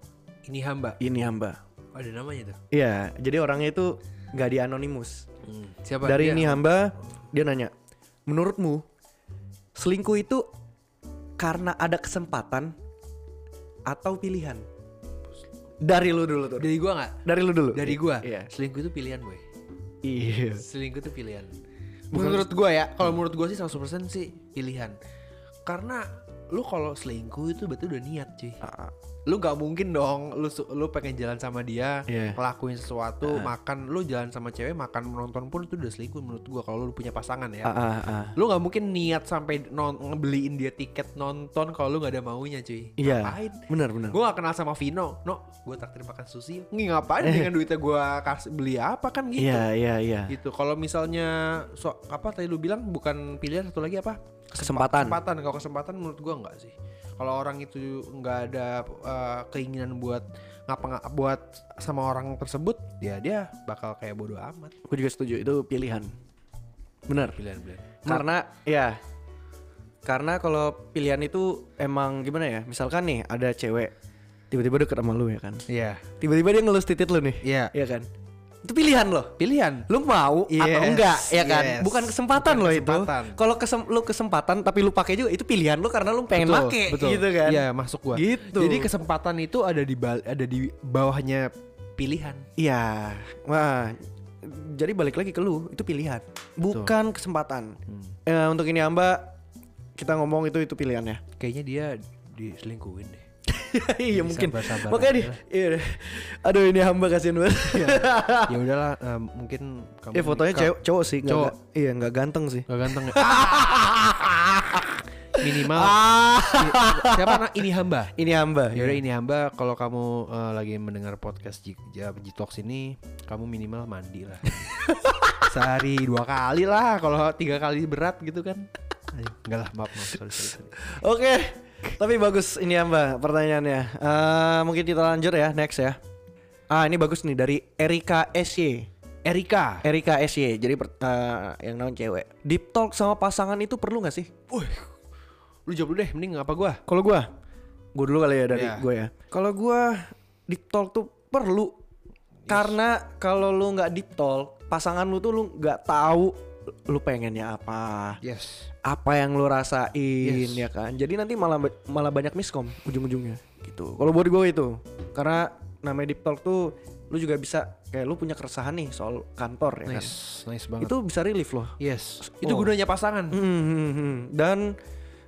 Speaker 1: Ini hamba
Speaker 2: Ini hamba.
Speaker 1: Oh, Ada namanya tuh
Speaker 2: Iya jadi orangnya itu nggak di anonimus.
Speaker 1: Siapa
Speaker 2: Hmm. Dari
Speaker 1: dia?
Speaker 2: ini ya. hamba dia nanya, menurutmu selingkuh itu karena ada kesempatan atau pilihan? Dari lu dulu tuh.
Speaker 1: Dari gue gak?
Speaker 2: Dari lu dulu.
Speaker 1: Dari gue
Speaker 2: Iya.
Speaker 1: Selingkuh itu pilihan boy
Speaker 2: Iya.
Speaker 1: Selingkuh itu pilihan.
Speaker 2: Bukan-
Speaker 1: menurut gua ya, kalau menurut gua sih 100% sih pilihan. Karena lu kalau selingkuh itu berarti udah niat cuy.
Speaker 2: Ah,
Speaker 1: Lu nggak mungkin dong lu su- lu pengen jalan sama dia,
Speaker 2: Iya. Ah.
Speaker 1: ngelakuin sesuatu, makan lu jalan sama cewek, makan menonton pun itu udah selingkuh menurut gua kalau lu punya pasangan
Speaker 2: ah,
Speaker 1: ya. Lu nggak mungkin niat sampai non- ngebeliin dia tiket nonton kalau lu nggak ada maunya cuy.
Speaker 2: Iya.
Speaker 1: Ngapain?
Speaker 2: Benar benar.
Speaker 1: Gue gak kenal sama Vino, no, gue traktir makan sushi, Nggih, ngapain dengan duitnya gue kasih beli apa kan gitu
Speaker 2: Eh. Iya iya iya.
Speaker 1: gitu kalau misalnya so apa tadi lu bilang bukan pilihan satu lagi apa
Speaker 2: Kesempatan.
Speaker 1: kesempatan kalau kesempatan menurut gua enggak sih kalau orang itu nggak ada uh, keinginan buat ngapa nggak buat sama orang tersebut ya dia bakal kayak bodoh amat
Speaker 2: Gue juga setuju itu pilihan. Benar.
Speaker 1: pilihan pilihan
Speaker 2: Karena ya karena kalau pilihan itu emang gimana ya? Misalkan nih ada cewek tiba-tiba deket sama lu ya kan.
Speaker 1: iya
Speaker 2: Tiba-tiba dia ngelus titit lu nih.
Speaker 1: iya
Speaker 2: Iya kan? Itu pilihan loh.
Speaker 1: pilihan
Speaker 2: Lu mau atau
Speaker 1: Yes,
Speaker 2: enggak ya kan?
Speaker 1: yes.
Speaker 2: Bukan kesempatan
Speaker 1: Bukan
Speaker 2: loh
Speaker 1: kesempatan.
Speaker 2: itu. Kalau kesem- lu kesempatan tapi lu pakai juga itu pilihan lu karena lu pengen
Speaker 1: Betul,
Speaker 2: pakai
Speaker 1: betul.
Speaker 2: gitu kan.
Speaker 1: iya masuk gua
Speaker 2: Gitu.
Speaker 1: jadi kesempatan itu ada di bal- ada di bawahnya pilihan
Speaker 2: Iya. Wah. Jadi balik lagi ke lu, itu pilihan, bukan kesempatan.
Speaker 1: Hmm.
Speaker 2: Eh, untuk ini Amba kita ngomong itu itu pilihannya.
Speaker 1: kayaknya dia diselingkuhin deh
Speaker 2: iya mungkin.
Speaker 1: sabar-sabar
Speaker 2: Makanya di,
Speaker 1: aja
Speaker 2: iya. Aduh ini Hamba kasihan banget.
Speaker 1: ya udahlah em, mungkin kamu
Speaker 2: Ah. Eh fotonya
Speaker 1: nikah.
Speaker 2: cewek- cowok sih, nggak-
Speaker 1: Cowok.
Speaker 2: nggak- Iya, nggak ganteng sih.
Speaker 1: Gak ganteng ya? minimal
Speaker 2: Ah,
Speaker 1: siapa anak ini hamba
Speaker 2: ini hamba.
Speaker 1: Yaudah Ya ini hamba kalau kamu eh, lagi mendengar podcast G- J- Jitox ini kamu minimal mandi lah sehari dua kali lah kalau tiga kali berat gitu kan Aduh, enggak lah maaf maaf sorry, sorry, sorry.
Speaker 2: Oke, tapi bagus ini hamba pertanyaannya. Eh, mungkin kita lanjut ya next ya. Ah ini bagus nih dari Erika SY.
Speaker 1: Erika
Speaker 2: Erika SY. Jadi per- eh, yang namanya cewek. Deep talk sama pasangan itu perlu nggak sih?
Speaker 1: Wih, lu jawab dulu deh mending apa gua
Speaker 2: Kalau gua, gua dulu kali ya dari
Speaker 1: Iya.
Speaker 2: gua ya. Kalau gua deep talk tuh perlu karena kalau lu nggak deep talk, pasangan lu tuh lu nggak tahu lu pengennya apa,
Speaker 1: yes
Speaker 2: apa yang lu rasain
Speaker 1: Yes.
Speaker 2: ya kan. Jadi nanti malah malah banyak miskom ujung-ujungnya gitu. Kalau buat gua itu karena namanya deep talk tuh lu juga bisa kayak lu punya keresahan nih soal kantor ya kan.
Speaker 1: nice nice banget
Speaker 2: Itu bisa relief loh.
Speaker 1: yes itu
Speaker 2: Oh.
Speaker 1: gunanya pasangan
Speaker 2: Hmm, hmm, hmm. Dan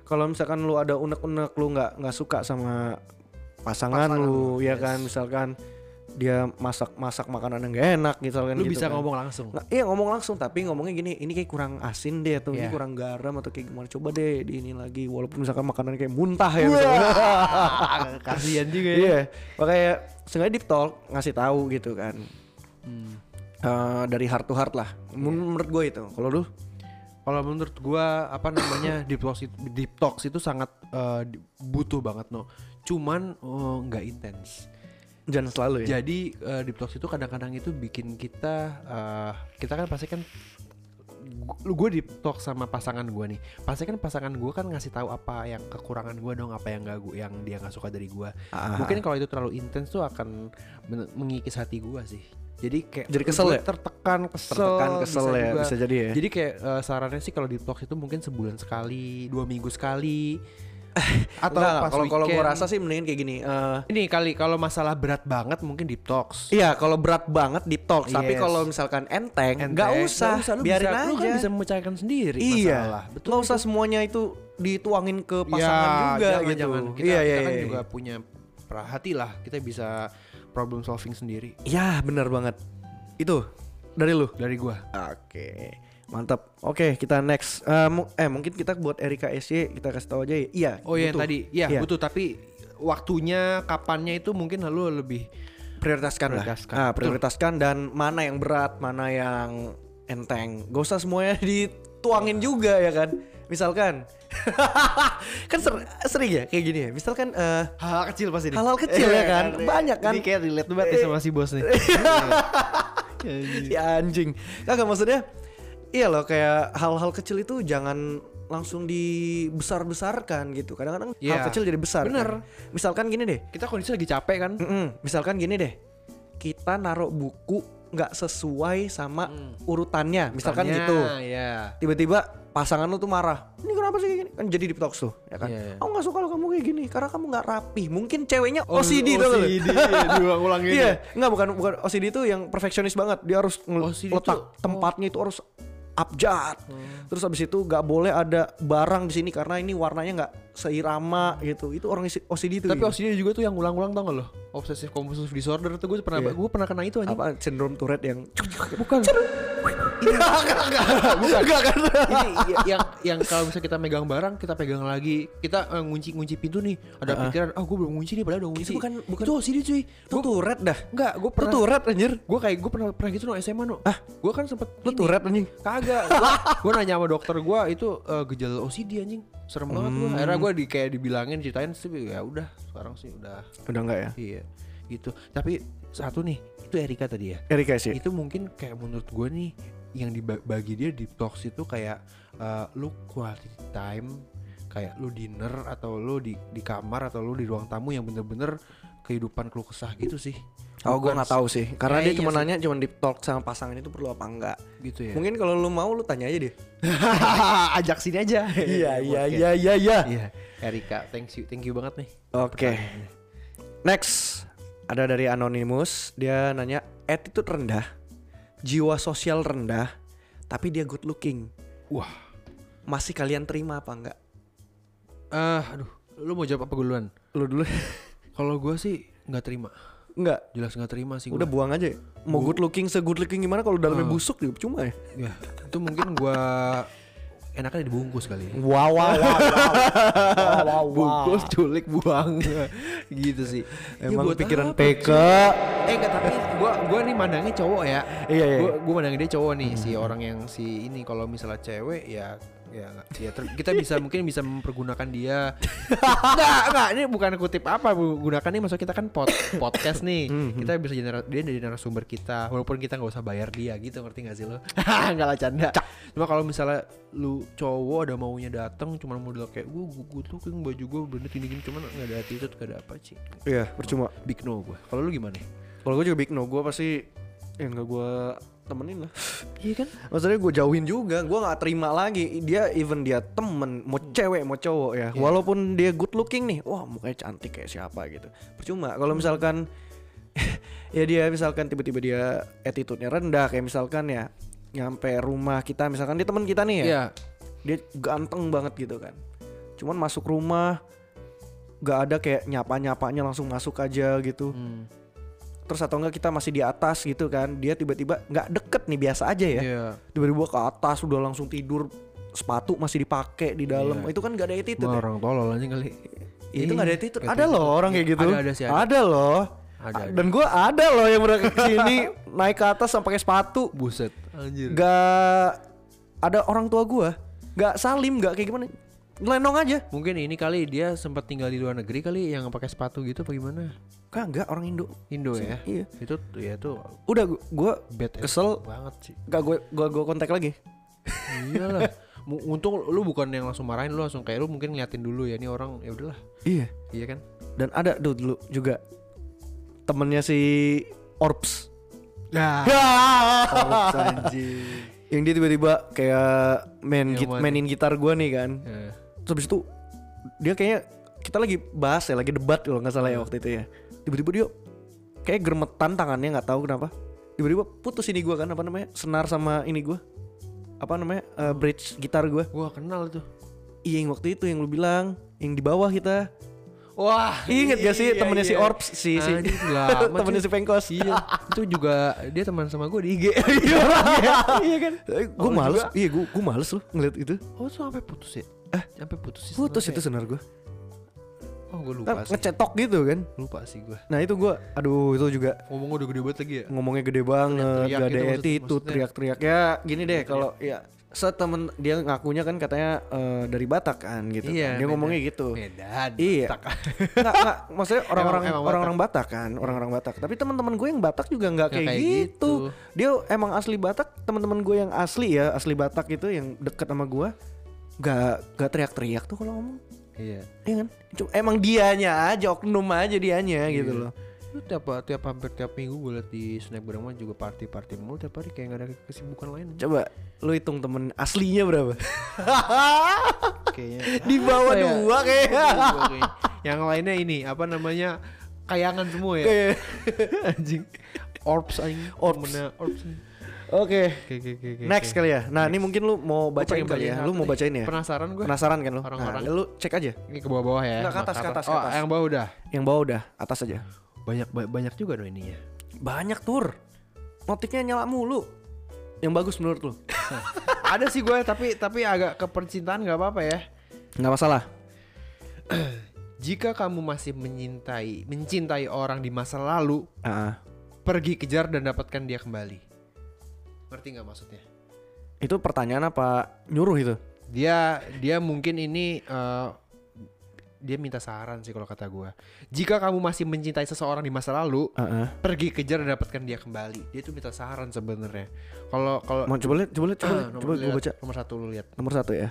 Speaker 2: kalau misalkan lu ada unek-unek lu nggak nggak suka sama pasangan,
Speaker 1: Pasangan
Speaker 2: lu,
Speaker 1: lu,
Speaker 2: ya
Speaker 1: yes.
Speaker 2: kan misalkan dia masak masak makanan yang gak enak misalkan
Speaker 1: lu
Speaker 2: gitu
Speaker 1: bisa
Speaker 2: kan.
Speaker 1: ngomong langsung
Speaker 2: Nah, iya ngomong langsung tapi ngomongnya gini ini kayak kurang asin deh atau
Speaker 1: Iya.
Speaker 2: ini kurang garam atau kayak gimana coba deh di ini lagi walaupun misalkan makanan kayak muntah ya
Speaker 1: Wah, kasihan juga ya
Speaker 2: Iya, makanya sengaja deep talk ngasih tahu gitu kan.
Speaker 1: Hmm.
Speaker 2: Eh, dari heart to heart lah. Men- Menurut gue itu. Kalau lu
Speaker 1: Kalau menurut gua apa namanya deep talks itu, deep talks itu sangat eh, di- butuh banget no. Cuman eh, nggak intens.
Speaker 2: jangan selalu ya.
Speaker 1: Jadi eh, deep talks itu kadang-kadang itu bikin kita eh, kita kan pasti kan lu gue deep talk sama pasangan gua nih pasti kan pasangan gua kan ngasih tahu apa yang kekurangan gua dong apa yang gak gua yang dia nggak suka dari gua
Speaker 2: Ah.
Speaker 1: mungkin kalau itu terlalu intens tuh akan men- mengikis hati gua sih jadi kayak
Speaker 2: Jadi kesel
Speaker 1: gua
Speaker 2: ya?
Speaker 1: tertekan kesel
Speaker 2: tertekan kesel
Speaker 1: bisa
Speaker 2: ya
Speaker 1: juga.
Speaker 2: bisa jadi ya
Speaker 1: Jadi kayak eh, sarannya sih kalau di talks itu mungkin sebulan sekali, dua minggu sekali, atau
Speaker 2: Enggak,
Speaker 1: pas
Speaker 2: kalau kalau gue
Speaker 1: weekend.
Speaker 2: rasa sih mendingan kayak gini eh,
Speaker 1: ini kali kalau masalah berat banget mungkin di talks.
Speaker 2: iya kalau berat banget deep talk tapi
Speaker 1: Yes.
Speaker 2: kalau misalkan enteng
Speaker 1: Enteng.
Speaker 2: Iya, nggak usah,
Speaker 1: lu
Speaker 2: biarin
Speaker 1: bisa,
Speaker 2: aja
Speaker 1: Lu kan bisa memecahkan sendiri
Speaker 2: iya
Speaker 1: masalah. Betul.
Speaker 2: nggak usah semuanya itu dituangin ke pasangan juga
Speaker 1: jangan,
Speaker 2: gitu
Speaker 1: Jangan. Kita,
Speaker 2: Ya, iya
Speaker 1: kita
Speaker 2: iya
Speaker 1: kan
Speaker 2: iya.
Speaker 1: juga punya perhati lah. Kita bisa problem solving sendiri
Speaker 2: ya benar banget itu dari lu
Speaker 1: dari gua.
Speaker 2: oke mantap oke kita next Eh, mu- eh mungkin kita buat Erika SY kita kasih tahu aja ya iya
Speaker 1: Oh iya
Speaker 2: butuh.
Speaker 1: tadi, iya
Speaker 2: Iya.
Speaker 1: butuh tapi waktunya kapannya itu mungkin lu lebih
Speaker 2: prioritaskan,
Speaker 1: Prioritaskan.
Speaker 2: lah. Ah,
Speaker 1: Betul.
Speaker 2: prioritaskan dan mana yang berat, mana yang enteng. Gak usah semuanya dituangin juga ya kan. Misalkan kan ser- sering ya kayak gini ya. Misalkan eh
Speaker 1: hal kecil pasti Iya,
Speaker 2: Hal-hal kecil ya kan? Banyak kan?
Speaker 1: Ini kayak relate banget nih sama si bos nih. Iya,
Speaker 2: si Ya, anjing. Kagak maksudnya iya loh kayak hal-hal kecil itu jangan langsung dibesar-besarkan gitu. Kadang-kadang
Speaker 1: Iya.
Speaker 2: hal kecil jadi besar.
Speaker 1: Bener.
Speaker 2: kan. Misalkan gini deh.
Speaker 1: Kita kondisi lagi capek kan?
Speaker 2: Mm-mm. Misalkan gini deh, kita naruh buku nggak sesuai sama
Speaker 1: Hmm.
Speaker 2: urutannya, misalkan
Speaker 1: Tanya,
Speaker 2: gitu.
Speaker 1: Ya.
Speaker 2: Tiba-tiba pasangan lu tuh marah. Ini kenapa sih kayak gini? Kan jadi di talks tuh, ya kan?
Speaker 1: Iya, iya.
Speaker 2: Aku nggak suka kalau kamu kayak gini, karena kamu nggak rapi. Mungkin ceweknya
Speaker 1: Oh,
Speaker 2: OCD, tuh
Speaker 1: OCD, diulang-ulang gitu.
Speaker 2: Iya, nggak bukan bukan OCD itu yang perfeksionis banget. Dia harus ngel-
Speaker 1: OCD
Speaker 2: letak
Speaker 1: tuh-
Speaker 2: tempatnya itu harus abjad.
Speaker 1: Hmm.
Speaker 2: Terus habis itu nggak boleh ada barang di sini karena ini warnanya nggak seirama gitu. Itu orang isi- OCD itu.
Speaker 1: Tapi OCD juga tuh yang ulang-ulang tau gak lo? Obsessive compulsive disorder tuh gue pernah
Speaker 2: Iya.
Speaker 1: gue pernah kena itu anjing.
Speaker 2: apa sindrom Tourette yang
Speaker 1: Bukan.
Speaker 2: Ini bukan. kan.
Speaker 1: ini ya- yang yang kalau misalnya kita megang barang kita pegang lagi kita eh, ngunci-ngunci pintu nih ada pikiran ah gue belum ngunci nih padahal udah ngunci
Speaker 2: bukan- bukan-
Speaker 1: itu OCD cuy
Speaker 2: Itu Tourette dah.
Speaker 1: enggak gue
Speaker 2: Itu
Speaker 1: pernah
Speaker 2: Tourette anjir.
Speaker 1: gue kayak gue pernah pernah gitu no SMA no ah gue kan sempet
Speaker 2: Lu
Speaker 1: ini,
Speaker 2: Tourette anjing.
Speaker 1: Kagak, gua, gua nanya sama dokter gua itu eh, gejala OCD anjing. Serem banget
Speaker 2: Hmm.
Speaker 1: gua. Akhirnya gua di kayak dibilangin ceritain sih ya udah sekarang sih udah
Speaker 2: Udah enggak ya?
Speaker 1: iya gitu. Tapi satu nih, itu Erika tadi ya.
Speaker 2: Erika sih.
Speaker 1: Itu mungkin kayak menurut gua nih yang dibagi dia di talks itu kayak eh, lu quality time kayak lu dinner atau lu di di kamar atau lu di ruang tamu yang bener-bener kehidupan keluh kesah gitu sih.
Speaker 2: Oh, gua
Speaker 1: Bukan
Speaker 2: nggak tahu sih. Karena dia
Speaker 1: Kayaknya
Speaker 2: cuma
Speaker 1: sih.
Speaker 2: nanya cuma di talk sama pasangan itu perlu apa enggak.
Speaker 1: gitu ya.
Speaker 2: Mungkin kalau lu mau lu tanya aja deh.
Speaker 1: ajak sini aja. Podcast.
Speaker 2: iya iya.
Speaker 1: Iya, Erika, thank you, thank you banget nih.
Speaker 2: Oke. Next ada dari anonymous, dia nanya attitude rendah, jiwa sosial rendah, tapi dia good looking.
Speaker 1: Wah,
Speaker 2: Masih kalian terima apa enggak?
Speaker 1: eh, aduh, lu mau jawab apa gue duluan?
Speaker 2: Lu dulu.
Speaker 1: Kalau gue sih nggak terima,
Speaker 2: enggak.
Speaker 1: jelas nggak terima sih.
Speaker 2: Udah
Speaker 1: gua.
Speaker 2: buang aja. ya? Hmm. Mau good looking se good looking gimana kalau dalamnya busuk juga cuma ya.
Speaker 1: ya, itu mungkin gue enaknya dibungkus kali ya.
Speaker 2: Wow, wow, wow, wow. wow, wow, wow.
Speaker 1: bungkus culik buang gitu sih Ya,
Speaker 2: Emang
Speaker 1: buat
Speaker 2: pikiran
Speaker 1: apa,
Speaker 2: PK.
Speaker 1: eh enggak tapi gua gua nih mandangnya cowok ya
Speaker 2: Iya, iya. Hmm.
Speaker 1: gua, gua mandangin dia cowok nih si orang yang si ini kalau misalnya cewek ya ya nggak- ya ter- kita bisa mungkin bisa mempergunakan dia enggak enggak ini bukan kutip apa bu gunakan nih maksud kita kan pod- podcast nih
Speaker 2: Hmm,
Speaker 1: kita bisa jadi nar- dia jadi narasumber kita walaupun kita nggak usah bayar dia gitu ngerti nggak sih lo enggak lah canda cuma kalau misalnya lu cowok ada maunya datang cuma modal kayak gua gua, gua tuh kayak baju gua bener gini gini cuman nggak ada attitude nggak ada apa sih
Speaker 2: Iya, percuma.
Speaker 1: big no gua kalau lu gimana
Speaker 2: Kalau gue juga big no, gue pasti ya nggak gue temenin lah.
Speaker 1: iya kan
Speaker 2: Maksudnya gue jauhin juga, gue nggak terima lagi. Dia even dia temen, mau cewek mau cowok
Speaker 1: Iya.
Speaker 2: ya. Walaupun dia good looking nih, wah mukanya cantik kayak siapa gitu. Percuma kalau misalkan ya dia misalkan tiba-tiba dia attitude-nya rendah kayak misalkan ya nyampe rumah kita misalkan dia teman kita nih ya.
Speaker 1: iya
Speaker 2: Dia ganteng banget gitu kan. Cuman masuk rumah nggak ada kayak nyapa-nyapanya langsung masuk aja gitu
Speaker 1: Hmm.
Speaker 2: terus atau enggak kita masih di atas gitu kan dia tiba-tiba nggak deket nih biasa aja ya
Speaker 1: Iya.
Speaker 2: tiba-tiba ke atas udah langsung tidur sepatu masih dipakai di dalam
Speaker 1: Iya.
Speaker 2: itu kan nggak ada attitude
Speaker 1: Wah,
Speaker 2: ya.
Speaker 1: orang tolol aja kali. Iya.
Speaker 2: Ya, itu nggak ada attitude
Speaker 1: Nggak
Speaker 2: ada loh orang kayak gitu
Speaker 1: Ada ada sih. Ada.
Speaker 2: Ada loh
Speaker 1: Ada, ada.
Speaker 2: dan gue ada loh yang pernah kesini naik ke atas sampai pakai sepatu
Speaker 1: Buset. Anjir.
Speaker 2: nggak ada orang tua gue nggak salim nggak kayak gimana lenong aja
Speaker 1: Mungkin ini kali dia sempat tinggal di luar negeri kali yang pakai sepatu gitu apa gimana?
Speaker 2: kagak orang Indo
Speaker 1: Indo ya.
Speaker 2: iya.
Speaker 1: Itu ya itu
Speaker 2: udah gue
Speaker 1: bad ass
Speaker 2: Kesel.
Speaker 1: banget sih.
Speaker 2: gak gue gue gue kontak lagi
Speaker 1: Iyalah. Iya Mu- Untung lu bukan yang langsung marahin lu langsung kayak lu mungkin ngeliatin dulu ya ini orang ya udahlah.
Speaker 2: iya
Speaker 1: Iya kan?
Speaker 2: dan ada tuh dulu juga temennya si Orbs
Speaker 1: Nah.
Speaker 2: Ah. yang dia tiba-tiba kayak main
Speaker 1: Yang
Speaker 2: git-
Speaker 1: mana?
Speaker 2: mainin gitar gua nih kan
Speaker 1: Iya.
Speaker 2: terus habis itu dia kayaknya kita lagi bahas ya lagi debat kalau nggak
Speaker 1: Iya.
Speaker 2: salah ya waktu itu ya tiba-tiba dia kayak germetan tangannya nggak tahu kenapa tiba-tiba putus ini gua kan apa namanya senar sama ini gua apa namanya eh, bridge gitar gua
Speaker 1: Gua kenal tuh.
Speaker 2: iya yang waktu itu yang lu bilang yang di bawah kita
Speaker 1: Wah,
Speaker 2: Ingat gak sih temennya si Orbs si si
Speaker 1: Anjir, Iya, lama, cuy.
Speaker 2: temennya si Pengkos.
Speaker 1: Iya, itu juga dia teman sama gue di IG.
Speaker 2: iya kan? Gue
Speaker 1: Kalau
Speaker 2: males,
Speaker 1: Oh, juga-
Speaker 2: iya gue gue males loh ngeliat itu.
Speaker 1: Oh, tuh sampai putus ya? Eh, sampai putus ya? sih.
Speaker 2: Putus itu
Speaker 1: sebenarnya.
Speaker 2: senar gue.
Speaker 1: Oh, gue lupa
Speaker 2: Kan
Speaker 1: sih.
Speaker 2: ngecetok gitu kan.
Speaker 1: Lupa sih gue.
Speaker 2: Nah itu gue, aduh itu juga
Speaker 1: Ngomong udah gede banget lagi ya.
Speaker 2: ngomongnya gede banget,
Speaker 1: Teriak-teriak
Speaker 2: gak ada
Speaker 1: gitu maksud-
Speaker 2: attitude,
Speaker 1: maksudnya.
Speaker 2: teriak-teriak. Ya gini deh kalau ya setemen dia ngakunya kan katanya eh, dari Batak kan gitu. kan.
Speaker 1: Iya,
Speaker 2: Dia
Speaker 1: beda.
Speaker 2: ngomongnya gitu.
Speaker 1: Medan.
Speaker 2: Iya.
Speaker 1: Batak.
Speaker 2: Nggak, nggak, maksudnya orang-orang
Speaker 1: Emang- emang
Speaker 2: orang-orang Batak kan, orang-orang Batak. Tapi teman-teman gue yang Batak juga nggak
Speaker 1: Nggak
Speaker 2: kayak,
Speaker 1: kayak
Speaker 2: gitu.
Speaker 1: gitu.
Speaker 2: Dia emang asli Batak, teman-teman gue yang asli ya, asli Batak itu yang deket sama gue, nggak nggak teriak-teriak tuh kalau ngomong.
Speaker 1: Iya.
Speaker 2: Iya kan? Cuma- emang dianya aja, oknum aja dianya gitu
Speaker 1: Iya.
Speaker 2: loh.
Speaker 1: Lu tiap tiap hampir tiap minggu gue liat di snapgram mah juga party-party mulu tiap hari kayak gak ada kesibukan lain.
Speaker 2: Coba lu hitung temen aslinya berapa?
Speaker 1: Kayaknya.
Speaker 2: Di bawah
Speaker 1: Apa ya?
Speaker 2: dua kayaknya.
Speaker 1: Dua kayaknya. Yang lainnya ini apa namanya? Kayangan semua ya.
Speaker 2: Kayak-
Speaker 1: anjing. Orbs anjing.
Speaker 2: Orbs.
Speaker 1: Temennya Orbs. nih.
Speaker 2: Oke.
Speaker 1: Oke oke oke. oke,
Speaker 2: Next
Speaker 1: oke.
Speaker 2: kali ya. Nah, ini mungkin lu mau
Speaker 1: Gua
Speaker 2: bacain
Speaker 1: pengen
Speaker 2: kali ya.
Speaker 1: satu
Speaker 2: Lu mau
Speaker 1: nih.
Speaker 2: bacain ya?
Speaker 1: Penasaran gue.
Speaker 2: Penasaran kan lo?
Speaker 1: Orang-orang.
Speaker 2: Nah, lu cek aja.
Speaker 1: Ini ke bawah-bawah ya.
Speaker 2: Nggak, ke atas,
Speaker 1: Maka-
Speaker 2: ke atas, ke
Speaker 1: Oh,
Speaker 2: atas.
Speaker 1: yang bawah udah.
Speaker 2: Yang bawah udah, atas aja.
Speaker 1: Banyak ba- banyak juga dong ininya.
Speaker 2: Banyak tur. Notifnya nyala mulu. Yang bagus menurut lu?
Speaker 1: ada sih gue tapi tapi agak ke percintaan nggak apa-apa ya.
Speaker 2: Nggak masalah.
Speaker 1: Jika kamu masih menyintai mencintai orang di masa lalu,
Speaker 2: Heeh.
Speaker 1: pergi kejar dan dapatkan dia kembali. Ngerti nggak maksudnya?
Speaker 2: itu pertanyaan apa nyuruh itu?
Speaker 1: Dia dia mungkin ini eh, dia minta saran sih kalau kata gue. Jika kamu masih mencintai seseorang di masa lalu,
Speaker 2: Heeh.
Speaker 1: pergi kejar dan dapatkan dia kembali. Dia tuh minta saran sebenarnya. Kalau kalau
Speaker 2: Mau coba lihat, coba lihat, coba,
Speaker 1: Ah,
Speaker 2: lihat.
Speaker 1: nomor
Speaker 2: coba gua
Speaker 1: lihat,
Speaker 2: baca.
Speaker 1: nomor satu lu lihat.
Speaker 2: Nomor satu ya.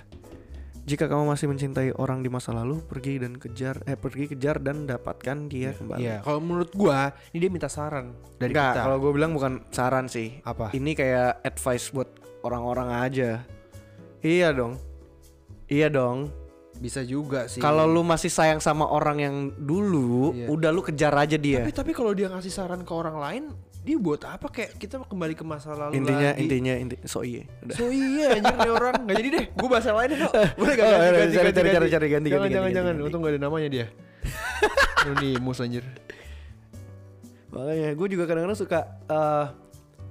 Speaker 2: Jika kamu masih mencintai orang di masa lalu, pergi dan kejar, eh pergi kejar dan dapatkan dia kembali.
Speaker 1: Iya, kalau menurut gua ini dia minta saran dari
Speaker 2: Nggak,
Speaker 1: kita.
Speaker 2: kalau gue bilang bukan saran sih.
Speaker 1: Apa?
Speaker 2: Ini kayak advice buat orang-orang aja. Iya dong. Iya dong.
Speaker 1: Bisa juga sih.
Speaker 2: Kalau lu masih sayang sama orang yang dulu,
Speaker 1: Iya.
Speaker 2: udah lu kejar aja
Speaker 1: tapi
Speaker 2: dia.
Speaker 1: Eh, tapi kalau dia ngasih saran ke orang lain, dia buat apa kayak kita kembali ke masa lalu
Speaker 2: intinya,
Speaker 1: lagi.
Speaker 2: intinya, intinya, so iya. Udah.
Speaker 1: So iya anjir nih orang Gak jadi deh Gue bahasa lain deh Boleh gak
Speaker 2: Oh,
Speaker 1: ganti,
Speaker 2: iya,
Speaker 1: ganti,
Speaker 2: cari,
Speaker 1: ganti,
Speaker 2: cari,
Speaker 1: ganti.
Speaker 2: cari, cari,
Speaker 1: Jangan
Speaker 2: ganti, ganti,
Speaker 1: jangan
Speaker 2: ganti,
Speaker 1: jangan
Speaker 2: ganti.
Speaker 1: Untung gak ada namanya dia Anonimus anjir
Speaker 2: Makanya gue juga kadang-kadang suka eh,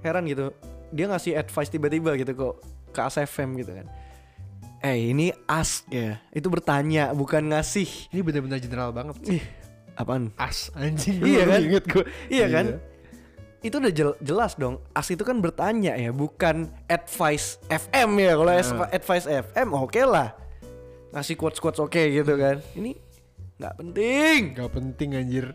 Speaker 2: heran gitu. Dia ngasih advice tiba-tiba gitu kok ke ASFM gitu kan. Eh ini ask ya. Itu bertanya bukan ngasih.
Speaker 1: Ini benar-benar general banget.
Speaker 2: Ih, apaan?
Speaker 1: As anjing.
Speaker 2: Iya
Speaker 1: Baru
Speaker 2: kan?
Speaker 1: Inget gue.
Speaker 2: Iya kan? Itu udah jel- jelas dong. Ask itu kan bertanya ya, bukan advice FM ya. Kalau as- advice FM oke lah. Ngasih quotes-quotes oke gitu kan. Ini nggak penting.
Speaker 1: Gak penting anjir.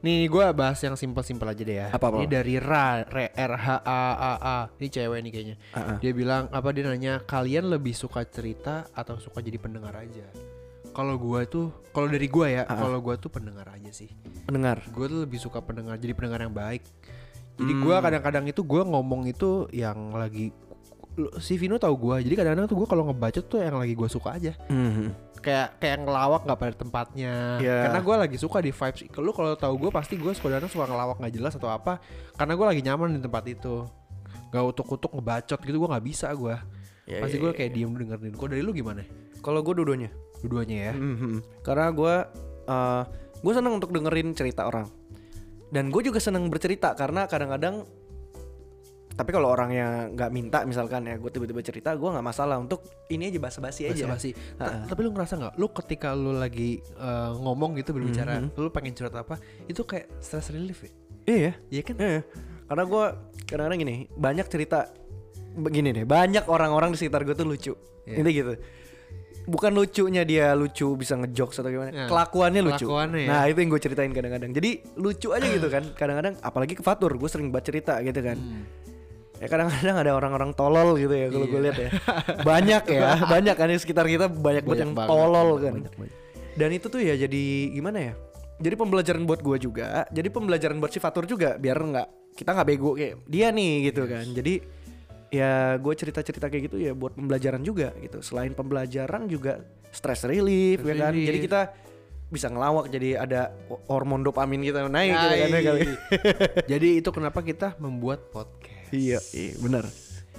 Speaker 1: Nih gue bahas yang simpel-simpel aja deh ya.
Speaker 2: Apa, apa?
Speaker 1: Ini dari Ra, Re- R H A A A. Ini cewek nih kayaknya.
Speaker 2: Ah, ah.
Speaker 1: Dia bilang apa dia nanya kalian lebih suka cerita atau suka jadi pendengar aja? Kalau gue tuh, kalau dari gue ya, kalau gue tuh pendengar aja sih.
Speaker 2: Pendengar.
Speaker 1: Gue tuh lebih suka pendengar, jadi pendengar yang baik. Jadi gue
Speaker 2: Hmm.
Speaker 1: kadang-kadang itu gue ngomong itu yang lagi lu- si Vino tahu gue. Jadi kadang-kadang tuh gue kalau ngebacot tuh yang lagi gue suka aja kayak kayak ngelawak nggak pada tempatnya
Speaker 2: Iya.
Speaker 1: karena gue lagi suka di vibes lu kalau tahu gue pasti gue sekolah suka ngelawak nggak jelas atau apa karena gue lagi nyaman di tempat itu nggak utuk-utuk ngebacot gitu gue nggak bisa gue
Speaker 2: Iya,
Speaker 1: pasti
Speaker 2: iya,
Speaker 1: gue kayak diem dengerin kok dari lu gimana
Speaker 2: Kalau gue dua-duanya.
Speaker 1: dua-duanya ya
Speaker 2: Mhm. Karena gue gue seneng untuk dengerin cerita orang dan gue juga seneng bercerita karena kadang-kadang tapi kalau orangnya nggak minta misalkan ya gue tiba-tiba cerita gue nggak masalah untuk ini aja
Speaker 1: Iya,
Speaker 2: basa-basi aja
Speaker 1: basa-basi Ta- tapi lu ngerasa nggak lu ketika lu lagi eh, ngomong gitu berbicara lu pengen curhat apa itu kayak stress relief ya
Speaker 2: iya
Speaker 1: Iya kan
Speaker 2: iya karena gue kadang-kadang gini banyak cerita begini deh banyak orang-orang di sekitar gue tuh lucu
Speaker 1: Iya.
Speaker 2: ini gitu bukan lucunya dia lucu bisa ngejokes atau gimana
Speaker 1: Ya,
Speaker 2: kelakuannya lucu
Speaker 1: kelakuannya ya.
Speaker 2: nah itu yang gue ceritain kadang-kadang jadi lucu aja gitu kan kadang-kadang apalagi ke Fatur gue sering buat cerita gitu kan
Speaker 1: Hmm.
Speaker 2: ya kadang-kadang ada orang-orang tolol gitu ya kalau
Speaker 1: Iya.
Speaker 2: gue lihat ya banyak ya banyak kan di sekitar kita banyak, banget yang
Speaker 1: banget,
Speaker 2: tolol kan
Speaker 1: banyak banget.
Speaker 2: dan itu tuh ya jadi gimana ya jadi pembelajaran buat gue juga jadi pembelajaran buat si Fatur juga biar nggak kita nggak bego kayak dia nih gitu kan jadi ya gue cerita-cerita kayak gitu ya buat pembelajaran juga gitu selain pembelajaran juga stress relief
Speaker 1: Stress
Speaker 2: ya kan
Speaker 1: relief.
Speaker 2: jadi kita bisa ngelawak jadi ada hormon dopamin kita naik gitu kan ya
Speaker 1: Yai.
Speaker 2: kali.
Speaker 1: jadi itu kenapa kita membuat podcast
Speaker 2: iya iya benar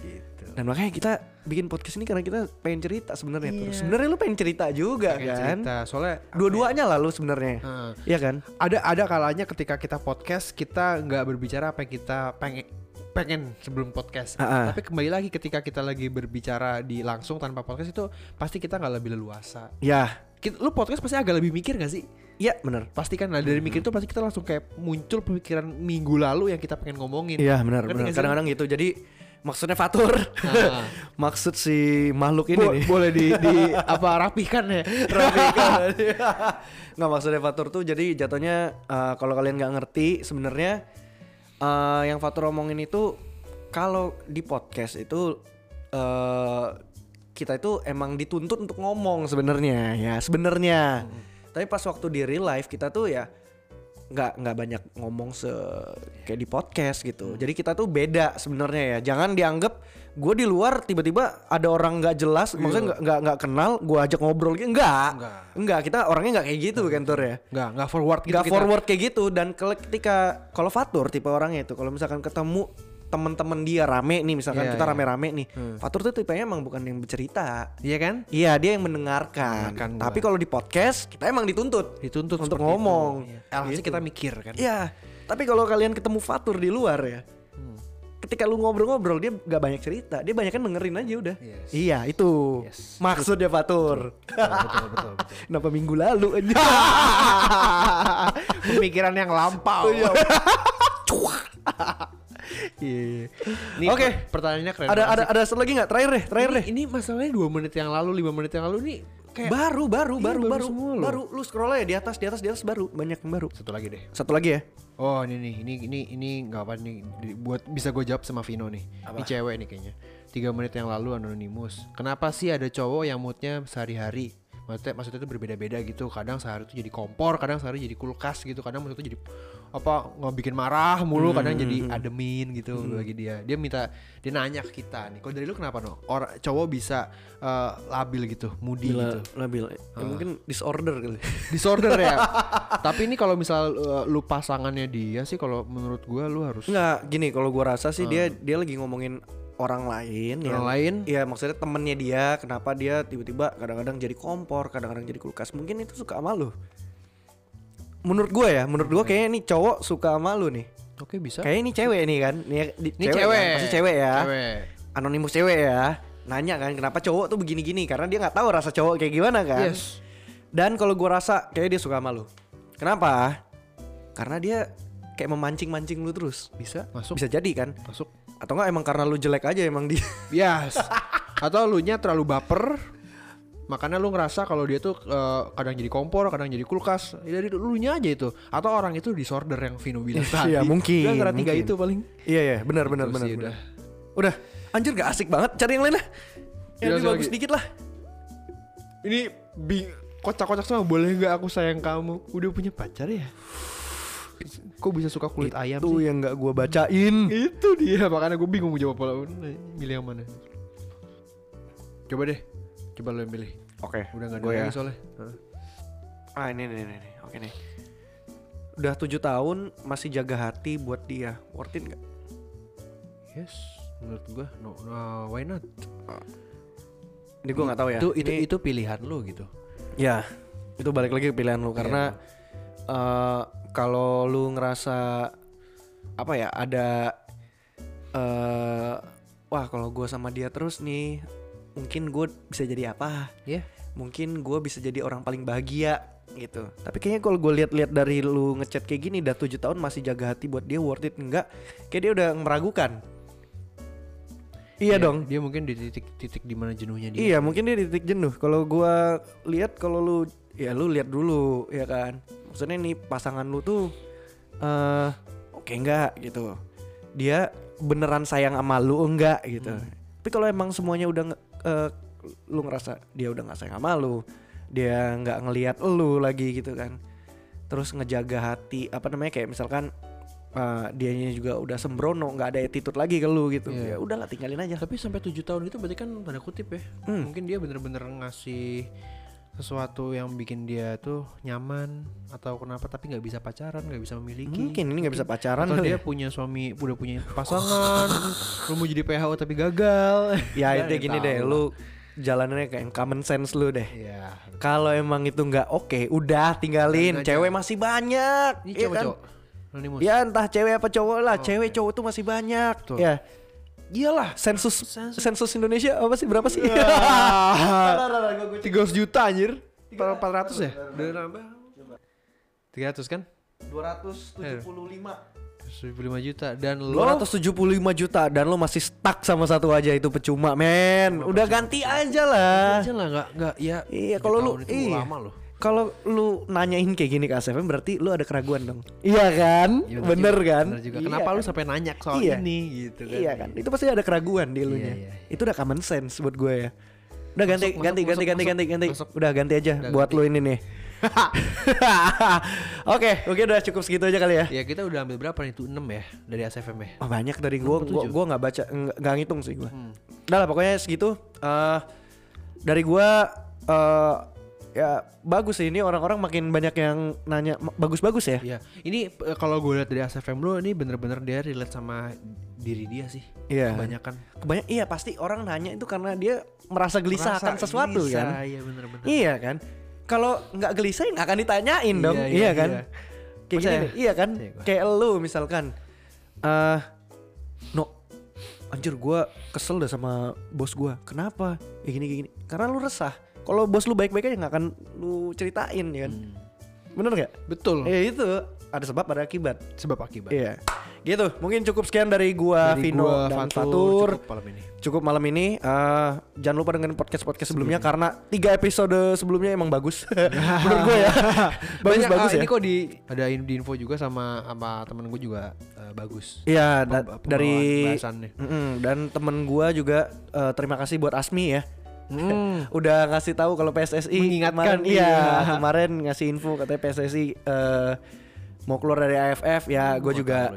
Speaker 1: gitu
Speaker 2: Dan makanya kita bikin podcast ini karena kita pengen cerita sebenarnya tuh.
Speaker 1: Iya.
Speaker 2: Sebenarnya lu pengen cerita juga
Speaker 1: Pengen
Speaker 2: kan?
Speaker 1: cerita soalnya
Speaker 2: Dua-duanya lah lu sebenarnya.
Speaker 1: Heeh.
Speaker 2: Iya kan?
Speaker 1: ada ada kalanya ketika kita podcast kita nggak berbicara apa yang kita pengen pengen sebelum podcast
Speaker 2: Ah, ah.
Speaker 1: tapi kembali lagi ketika kita lagi berbicara di langsung tanpa podcast itu pasti kita nggak lebih leluasa
Speaker 2: Ya.
Speaker 1: Kit- lu podcast pasti agak lebih mikir gak sih
Speaker 2: Iya benar.
Speaker 1: pasti kan nah, dari
Speaker 2: Mm-hmm.
Speaker 1: mikir itu pasti kita langsung kayak muncul pemikiran minggu lalu yang kita pengen ngomongin
Speaker 2: Iya benar
Speaker 1: Ngerti
Speaker 2: benar.
Speaker 1: nggak sih?
Speaker 2: Kadang-kadang gitu. Jadi maksudnya fatur.
Speaker 1: Ah.
Speaker 2: Maksud si makhluk ini
Speaker 1: Bo-
Speaker 2: nih.
Speaker 1: boleh di, di apa rapihkan ya rapihkan
Speaker 2: nggak maksudnya fatur tuh jadi jatuhnya eh, kalau kalian nggak ngerti sebenarnya eh, yang fatur omongin itu kalau di podcast itu eh kita itu emang dituntut untuk ngomong sebenarnya ya sebenarnya
Speaker 1: Hmm.
Speaker 2: tapi pas waktu di real life kita tuh ya nggak nggak banyak ngomong se kayak di podcast
Speaker 1: Hmm.
Speaker 2: gitu jadi kita tuh beda sebenarnya ya jangan dianggap gue di luar tiba-tiba ada orang nggak jelas maksudnya nggak nggak nggak kenal gue ajak ngobrol gitu enggak
Speaker 1: Iya. Nggak.
Speaker 2: Enggak, kita orangnya nggak kayak gitu kan Tur ya.
Speaker 1: nggak nggak forward gitu
Speaker 2: Nggak
Speaker 1: kita.
Speaker 2: forward kayak gitu dan kalau ketika kalau Fatur tipe orangnya itu kalau misalkan ketemu temen-temen dia rame nih misalkan
Speaker 1: Iya,
Speaker 2: kita
Speaker 1: iya.
Speaker 2: rame-rame nih. Fatur tuh tipenya emang bukan yang bercerita.
Speaker 1: iya kan
Speaker 2: Iya, dia yang mendengarkan.
Speaker 1: Mendengarkan
Speaker 2: Tapi
Speaker 1: gua.
Speaker 2: kalau di podcast kita emang dituntut.
Speaker 1: dituntut
Speaker 2: Untuk
Speaker 1: seperti
Speaker 2: ngomong.
Speaker 1: itu. Iya. Alhasil
Speaker 2: Gitu.
Speaker 1: kita mikir kan
Speaker 2: Iya. Tapi kalau kalian ketemu Fatur di luar ya.
Speaker 1: Hmm.
Speaker 2: Ketika lu ngobrol-ngobrol dia nggak banyak cerita, dia banyak kan dengerin aja udah.
Speaker 1: Yes.
Speaker 2: Iya, itu.
Speaker 1: Yes.
Speaker 2: Maksudnya Fatur.
Speaker 1: betul betul, betul, betul.
Speaker 2: Kenapa minggu lalu aja?
Speaker 1: pemikiran yang lampau. Iya. Nih,
Speaker 2: Oke.
Speaker 1: Iya. per- pertanyaannya keren.
Speaker 2: ada
Speaker 1: banget
Speaker 2: ada
Speaker 1: sih.
Speaker 2: ada satu lagi nggak terakhir deh terakhir deh
Speaker 1: ini, ini masalahnya 2 menit yang lalu, 5 menit yang lalu nih kayak
Speaker 2: baru baru
Speaker 1: Iya,
Speaker 2: baru
Speaker 1: baru
Speaker 2: baru
Speaker 1: semua loh.
Speaker 2: baru lu scroll aja di atas di atas di atas baru banyak yang baru
Speaker 1: satu lagi deh.
Speaker 2: satu lagi ya
Speaker 1: Oh, ini nih, ini ini ini nggak apa nih di- buat bisa gue jawab sama Vino nih. Ini cewek nih kayaknya. 3 menit yang lalu anonimus. Kenapa sih ada cowok yang moodnya sehari-hari? Maksudnya, maksudnya itu berbeda-beda gitu. Kadang sehari itu jadi kompor, kadang sehari jadi kulkas gitu. Kadang maksudnya jadi apa nggak bikin marah mulu, kadang jadi ademin gitu bagi dia. Dia minta dia nanya ke kita nih. Kalau dari lu kenapa no? Orang cowok bisa eh, labil gitu, moody gitu
Speaker 2: labil ya, mungkin disorder kali
Speaker 1: disorder ya. Tapi ini kalau misal uh, lu pasangannya dia sih kalau menurut gua lu harus
Speaker 2: nggak gini kalau gua rasa sih dia dia lagi ngomongin orang lain
Speaker 1: Oh. Orang
Speaker 2: yang-
Speaker 1: lain?
Speaker 2: Iya maksudnya temennya dia kenapa dia tiba-tiba kadang-kadang jadi kompor kadang-kadang jadi kulkas mungkin itu suka sama lu menurut gua ya menurut
Speaker 1: Hmm.
Speaker 2: gua kayaknya nih cowok suka sama lu nih
Speaker 1: oke bisa.
Speaker 2: kayaknya ini cewek nih kan nih, di-
Speaker 1: Ini
Speaker 2: kan?
Speaker 1: cewek. Kan?
Speaker 2: pasti cewek ya
Speaker 1: Cewek.
Speaker 2: anonimus cewek ya nanya kan kenapa cowok tuh begini-gini karena dia nggak tahu rasa cowok kayak gimana kan.
Speaker 1: Yes.
Speaker 2: Dan kalau gua rasa kayak dia suka sama lu. Kenapa? Karena dia kayak memancing-mancing lu terus. Bisa?
Speaker 1: Masuk.
Speaker 2: Bisa jadi kan?
Speaker 1: Masuk.
Speaker 2: Atau enggak emang karena lu jelek aja emang dia.
Speaker 1: Yes. Atau lu nya terlalu baper. Makanya lu ngerasa kalau dia tuh eh, kadang jadi kompor, kadang jadi kulkas. Ya, dari lu nya aja itu. Atau orang itu disorder yang Vino bilang tadi.
Speaker 2: Iya, mungkin,
Speaker 1: Udah antara tiga
Speaker 2: mungkin.
Speaker 1: itu paling.
Speaker 2: Iya ya, benar benar
Speaker 1: Gitu
Speaker 2: benar.
Speaker 1: sih,
Speaker 2: benar. Udah. Anjir gak asik banget, cari yang lain lah. Yang
Speaker 1: Iya,
Speaker 2: lebih
Speaker 1: satu
Speaker 2: bagus
Speaker 1: lagi.
Speaker 2: dikit lah.
Speaker 1: Ini bing kocak-kocak sama boleh nggak aku sayang kamu? Udah punya pacar ya? Kok bisa suka kulit ayam
Speaker 2: Itu
Speaker 1: sih?
Speaker 2: yang gak gua bacain.
Speaker 1: Hmm. Itu dia makanya gue bingung mau jawab apa milih yang mana. Coba deh, coba lo yang pilih.
Speaker 2: Oke.
Speaker 1: Udah nggak ada
Speaker 2: gua ya.
Speaker 1: lagi soalnya. Heeh.
Speaker 2: Ah ini nih nih nih. Oke nih. Udah tujuh tahun masih jaga hati buat dia. Worth it gak?
Speaker 1: Yes, menurut gue no, no, why not?
Speaker 2: Ini gua nggak tahu ya.
Speaker 1: Itu itu
Speaker 2: Ini-
Speaker 1: itu pilihan lo gitu.
Speaker 2: Ya, itu balik lagi ke pilihan lu karena eh, kalau lu ngerasa apa ya ada eh wah kalau gue sama dia terus nih mungkin gue bisa jadi apa?
Speaker 1: Ya.
Speaker 2: Mungkin gue bisa jadi orang paling bahagia gitu. Tapi kayaknya kalau gue lihat-lihat dari lu ngechat kayak gini udah tujuh tahun masih jaga hati buat dia worth it enggak? Kayak dia udah meragukan.
Speaker 1: Ya,
Speaker 2: Iya dong.
Speaker 1: Dia mungkin di titik-titik di mana jenuhnya dia.
Speaker 2: Iya mungkin dia di titik jenuh. Kalau gua lihat kalau lu ya lu lihat dulu ya kan. Maksudnya nih pasangan lu tuh eh oke enggak gitu. Dia beneran sayang sama lu enggak gitu.
Speaker 1: Hmm.
Speaker 2: Tapi kalau emang semuanya udah nge- eh, lu ngerasa dia udah nggak sayang sama lu, dia nggak ngelihat lu lagi gitu kan. Terus ngejaga hati apa namanya kayak misalkan eh, dianya juga udah sembrono nggak ada attitude lagi ke lu gitu
Speaker 1: Iya.
Speaker 2: ya udahlah tinggalin aja
Speaker 1: Tapi sampai tujuh tahun itu berarti kan tanda kutip ya.
Speaker 2: Hmm.
Speaker 1: Mungkin dia bener-bener ngasih sesuatu yang bikin dia tuh nyaman atau kenapa tapi nggak bisa pacaran nggak bisa memiliki
Speaker 2: mungkin ini nggak bisa pacaran
Speaker 1: atau
Speaker 2: kali
Speaker 1: dia
Speaker 2: ya.
Speaker 1: punya suami udah punya pasangan lu mau jadi PHO tapi gagal
Speaker 2: ya
Speaker 1: Kan
Speaker 2: itu
Speaker 1: nggak
Speaker 2: gini
Speaker 1: tahu
Speaker 2: deh
Speaker 1: lah.
Speaker 2: lu jalanannya kayak yang common sense lu deh
Speaker 1: Iya.
Speaker 2: kalau emang itu nggak oke udah tinggalin
Speaker 1: Tinggalin aja.
Speaker 2: cewek masih banyak
Speaker 1: ini
Speaker 2: ya
Speaker 1: cewek
Speaker 2: kan?
Speaker 1: cowok anonimus
Speaker 2: ya entah cewek apa cowok lah cewek cowok tuh masih banyak
Speaker 1: Betul.
Speaker 2: ya iyalah sensus Iya.
Speaker 1: Sensus.
Speaker 2: sensus Indonesia apa sih berapa sih Nah,
Speaker 1: tiga ratus juta anjir empat ratus ya udah nambah tiga ratus kan
Speaker 2: 275
Speaker 1: seribu lima juta dan lo
Speaker 2: 275 juta dan lo masih stuck sama satu aja itu percuma men udah ganti aja lah
Speaker 1: aja lah nggak nggak ya
Speaker 2: Iya,
Speaker 1: tujuh
Speaker 2: kalau lu-
Speaker 1: tahun itu
Speaker 2: iya.
Speaker 1: lama loh
Speaker 2: Kalau lu nanyain kayak gini ke ASFM berarti lu ada keraguan dong. Iya kan?
Speaker 1: Iya,
Speaker 2: bener
Speaker 1: juga,
Speaker 2: kan?
Speaker 1: bener juga.
Speaker 2: Iya
Speaker 1: kenapa
Speaker 2: kan?
Speaker 1: lu sampai nanya soal
Speaker 2: Iya.
Speaker 1: ini gitu kan
Speaker 2: Iya kan? Itu pasti ada keraguan di elunya.
Speaker 1: Iya, iya,
Speaker 2: Itu udah common sense buat gue ya. Udah ganti
Speaker 1: Masuk,
Speaker 2: ganti
Speaker 1: masuk,
Speaker 2: ganti ganti
Speaker 1: masuk,
Speaker 2: ganti ganti.
Speaker 1: masuk.
Speaker 2: Udah ganti aja
Speaker 1: Udah
Speaker 2: buat
Speaker 1: ganti.
Speaker 2: lu ini nih. Oke, mungkin udah cukup segitu aja kali ya.
Speaker 1: ya kita udah ambil berapa nih itu 6 ya dari ACFM ya
Speaker 2: Oh, banyak dari gue, gue
Speaker 1: 67.
Speaker 2: gue nggak baca nggak nggak ngitung sih gue.
Speaker 1: Hmm.
Speaker 2: Udah lah pokoknya segitu. Eh, dari gue eh ya bagus sih ini orang-orang makin banyak yang nanya "Ma- bagus-bagus ya.
Speaker 1: Iya, ini eh, kalau gue lihat dari ACFM lu ini bener-bener dia relate sama diri dia sih.
Speaker 2: Iya.
Speaker 1: Kebanyakan
Speaker 2: Kebanyak iya pasti orang nanya itu karena dia merasa gelisah akan
Speaker 1: Merasa
Speaker 2: sesuatu
Speaker 1: gelisah,
Speaker 2: kan.
Speaker 1: Iya bener-bener.
Speaker 2: Iya kan. Kalau nggak gelisah ya nggak akan ditanyain dong.
Speaker 1: Iya,
Speaker 2: Iya,
Speaker 1: iya,
Speaker 2: kan.
Speaker 1: iya.
Speaker 2: Kayak
Speaker 1: Percaya?
Speaker 2: gini, iya kan.
Speaker 1: Percaya gua.
Speaker 2: Kayak lu misalkan eh no anjir gua kesel dah sama bos gua. Kenapa? Ya gini kayak gini. Karena lu resah. Kalau bos lu baik-baik aja nggak akan lu ceritain ya kan. Bener nggak?
Speaker 1: Hmm. Betul.
Speaker 2: Ya itu ada sebab ada akibat.
Speaker 1: Sebab akibat.
Speaker 2: Iya. Gitu. Mungkin cukup sekian dari gua
Speaker 1: Dari
Speaker 2: Vino
Speaker 1: gua,
Speaker 2: dan
Speaker 1: Fatur,
Speaker 2: Fatur
Speaker 1: cukup malam ini.
Speaker 2: cukup malam ini eh, jangan lupa dengerin podcast podcast sebelumnya,
Speaker 1: Iya.
Speaker 2: karena tiga episode sebelumnya emang bagus menurut gue ya bagus
Speaker 1: Banyak,
Speaker 2: bagus
Speaker 1: ah,
Speaker 2: ya
Speaker 1: Ini kok di ada in- di info juga sama sama temen gue juga eh, bagus.
Speaker 2: iya da-
Speaker 1: Pem-
Speaker 2: dari
Speaker 1: pembawaan bahasannya.
Speaker 2: Mm-mm, dan temen gue juga eh, terima kasih buat Asmi ya udah ngasih tahu kalau PSSI
Speaker 1: Mengingatkan,
Speaker 2: kemarin, iya
Speaker 1: iya.
Speaker 2: kemarin ngasih info katanya PSSI eh, mau keluar dari AFF ya gue juga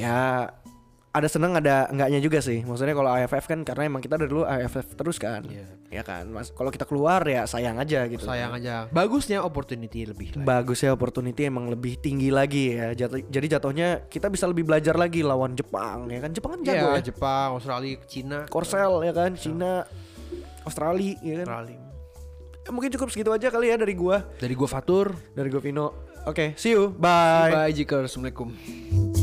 Speaker 2: ya ada seneng ada enggaknya juga sih maksudnya kalau AFF kan karena emang kita dari dulu AFF terus kan
Speaker 1: Iya.
Speaker 2: ya kan mas kalau kita keluar ya sayang aja gitu
Speaker 1: sayang aja. Bagusnya opportunity lebih lah.
Speaker 2: bagusnya opportunity emang lebih tinggi lagi ya Jatuh- jadi jatuhnya kita bisa lebih belajar lagi lawan Jepang ya kan Jepang kan jago
Speaker 1: Iya,
Speaker 2: ya
Speaker 1: Jepang, Iya. Australia, Cina,
Speaker 2: Korsel ya kan Cina Australia ya kan
Speaker 1: Australia.
Speaker 2: Eh, mungkin cukup segitu aja kali ya dari gua
Speaker 1: Dari gue Fatur.
Speaker 2: dari gua Vino oke see you bye.
Speaker 1: Bye, Jikar. Assalamualaikum.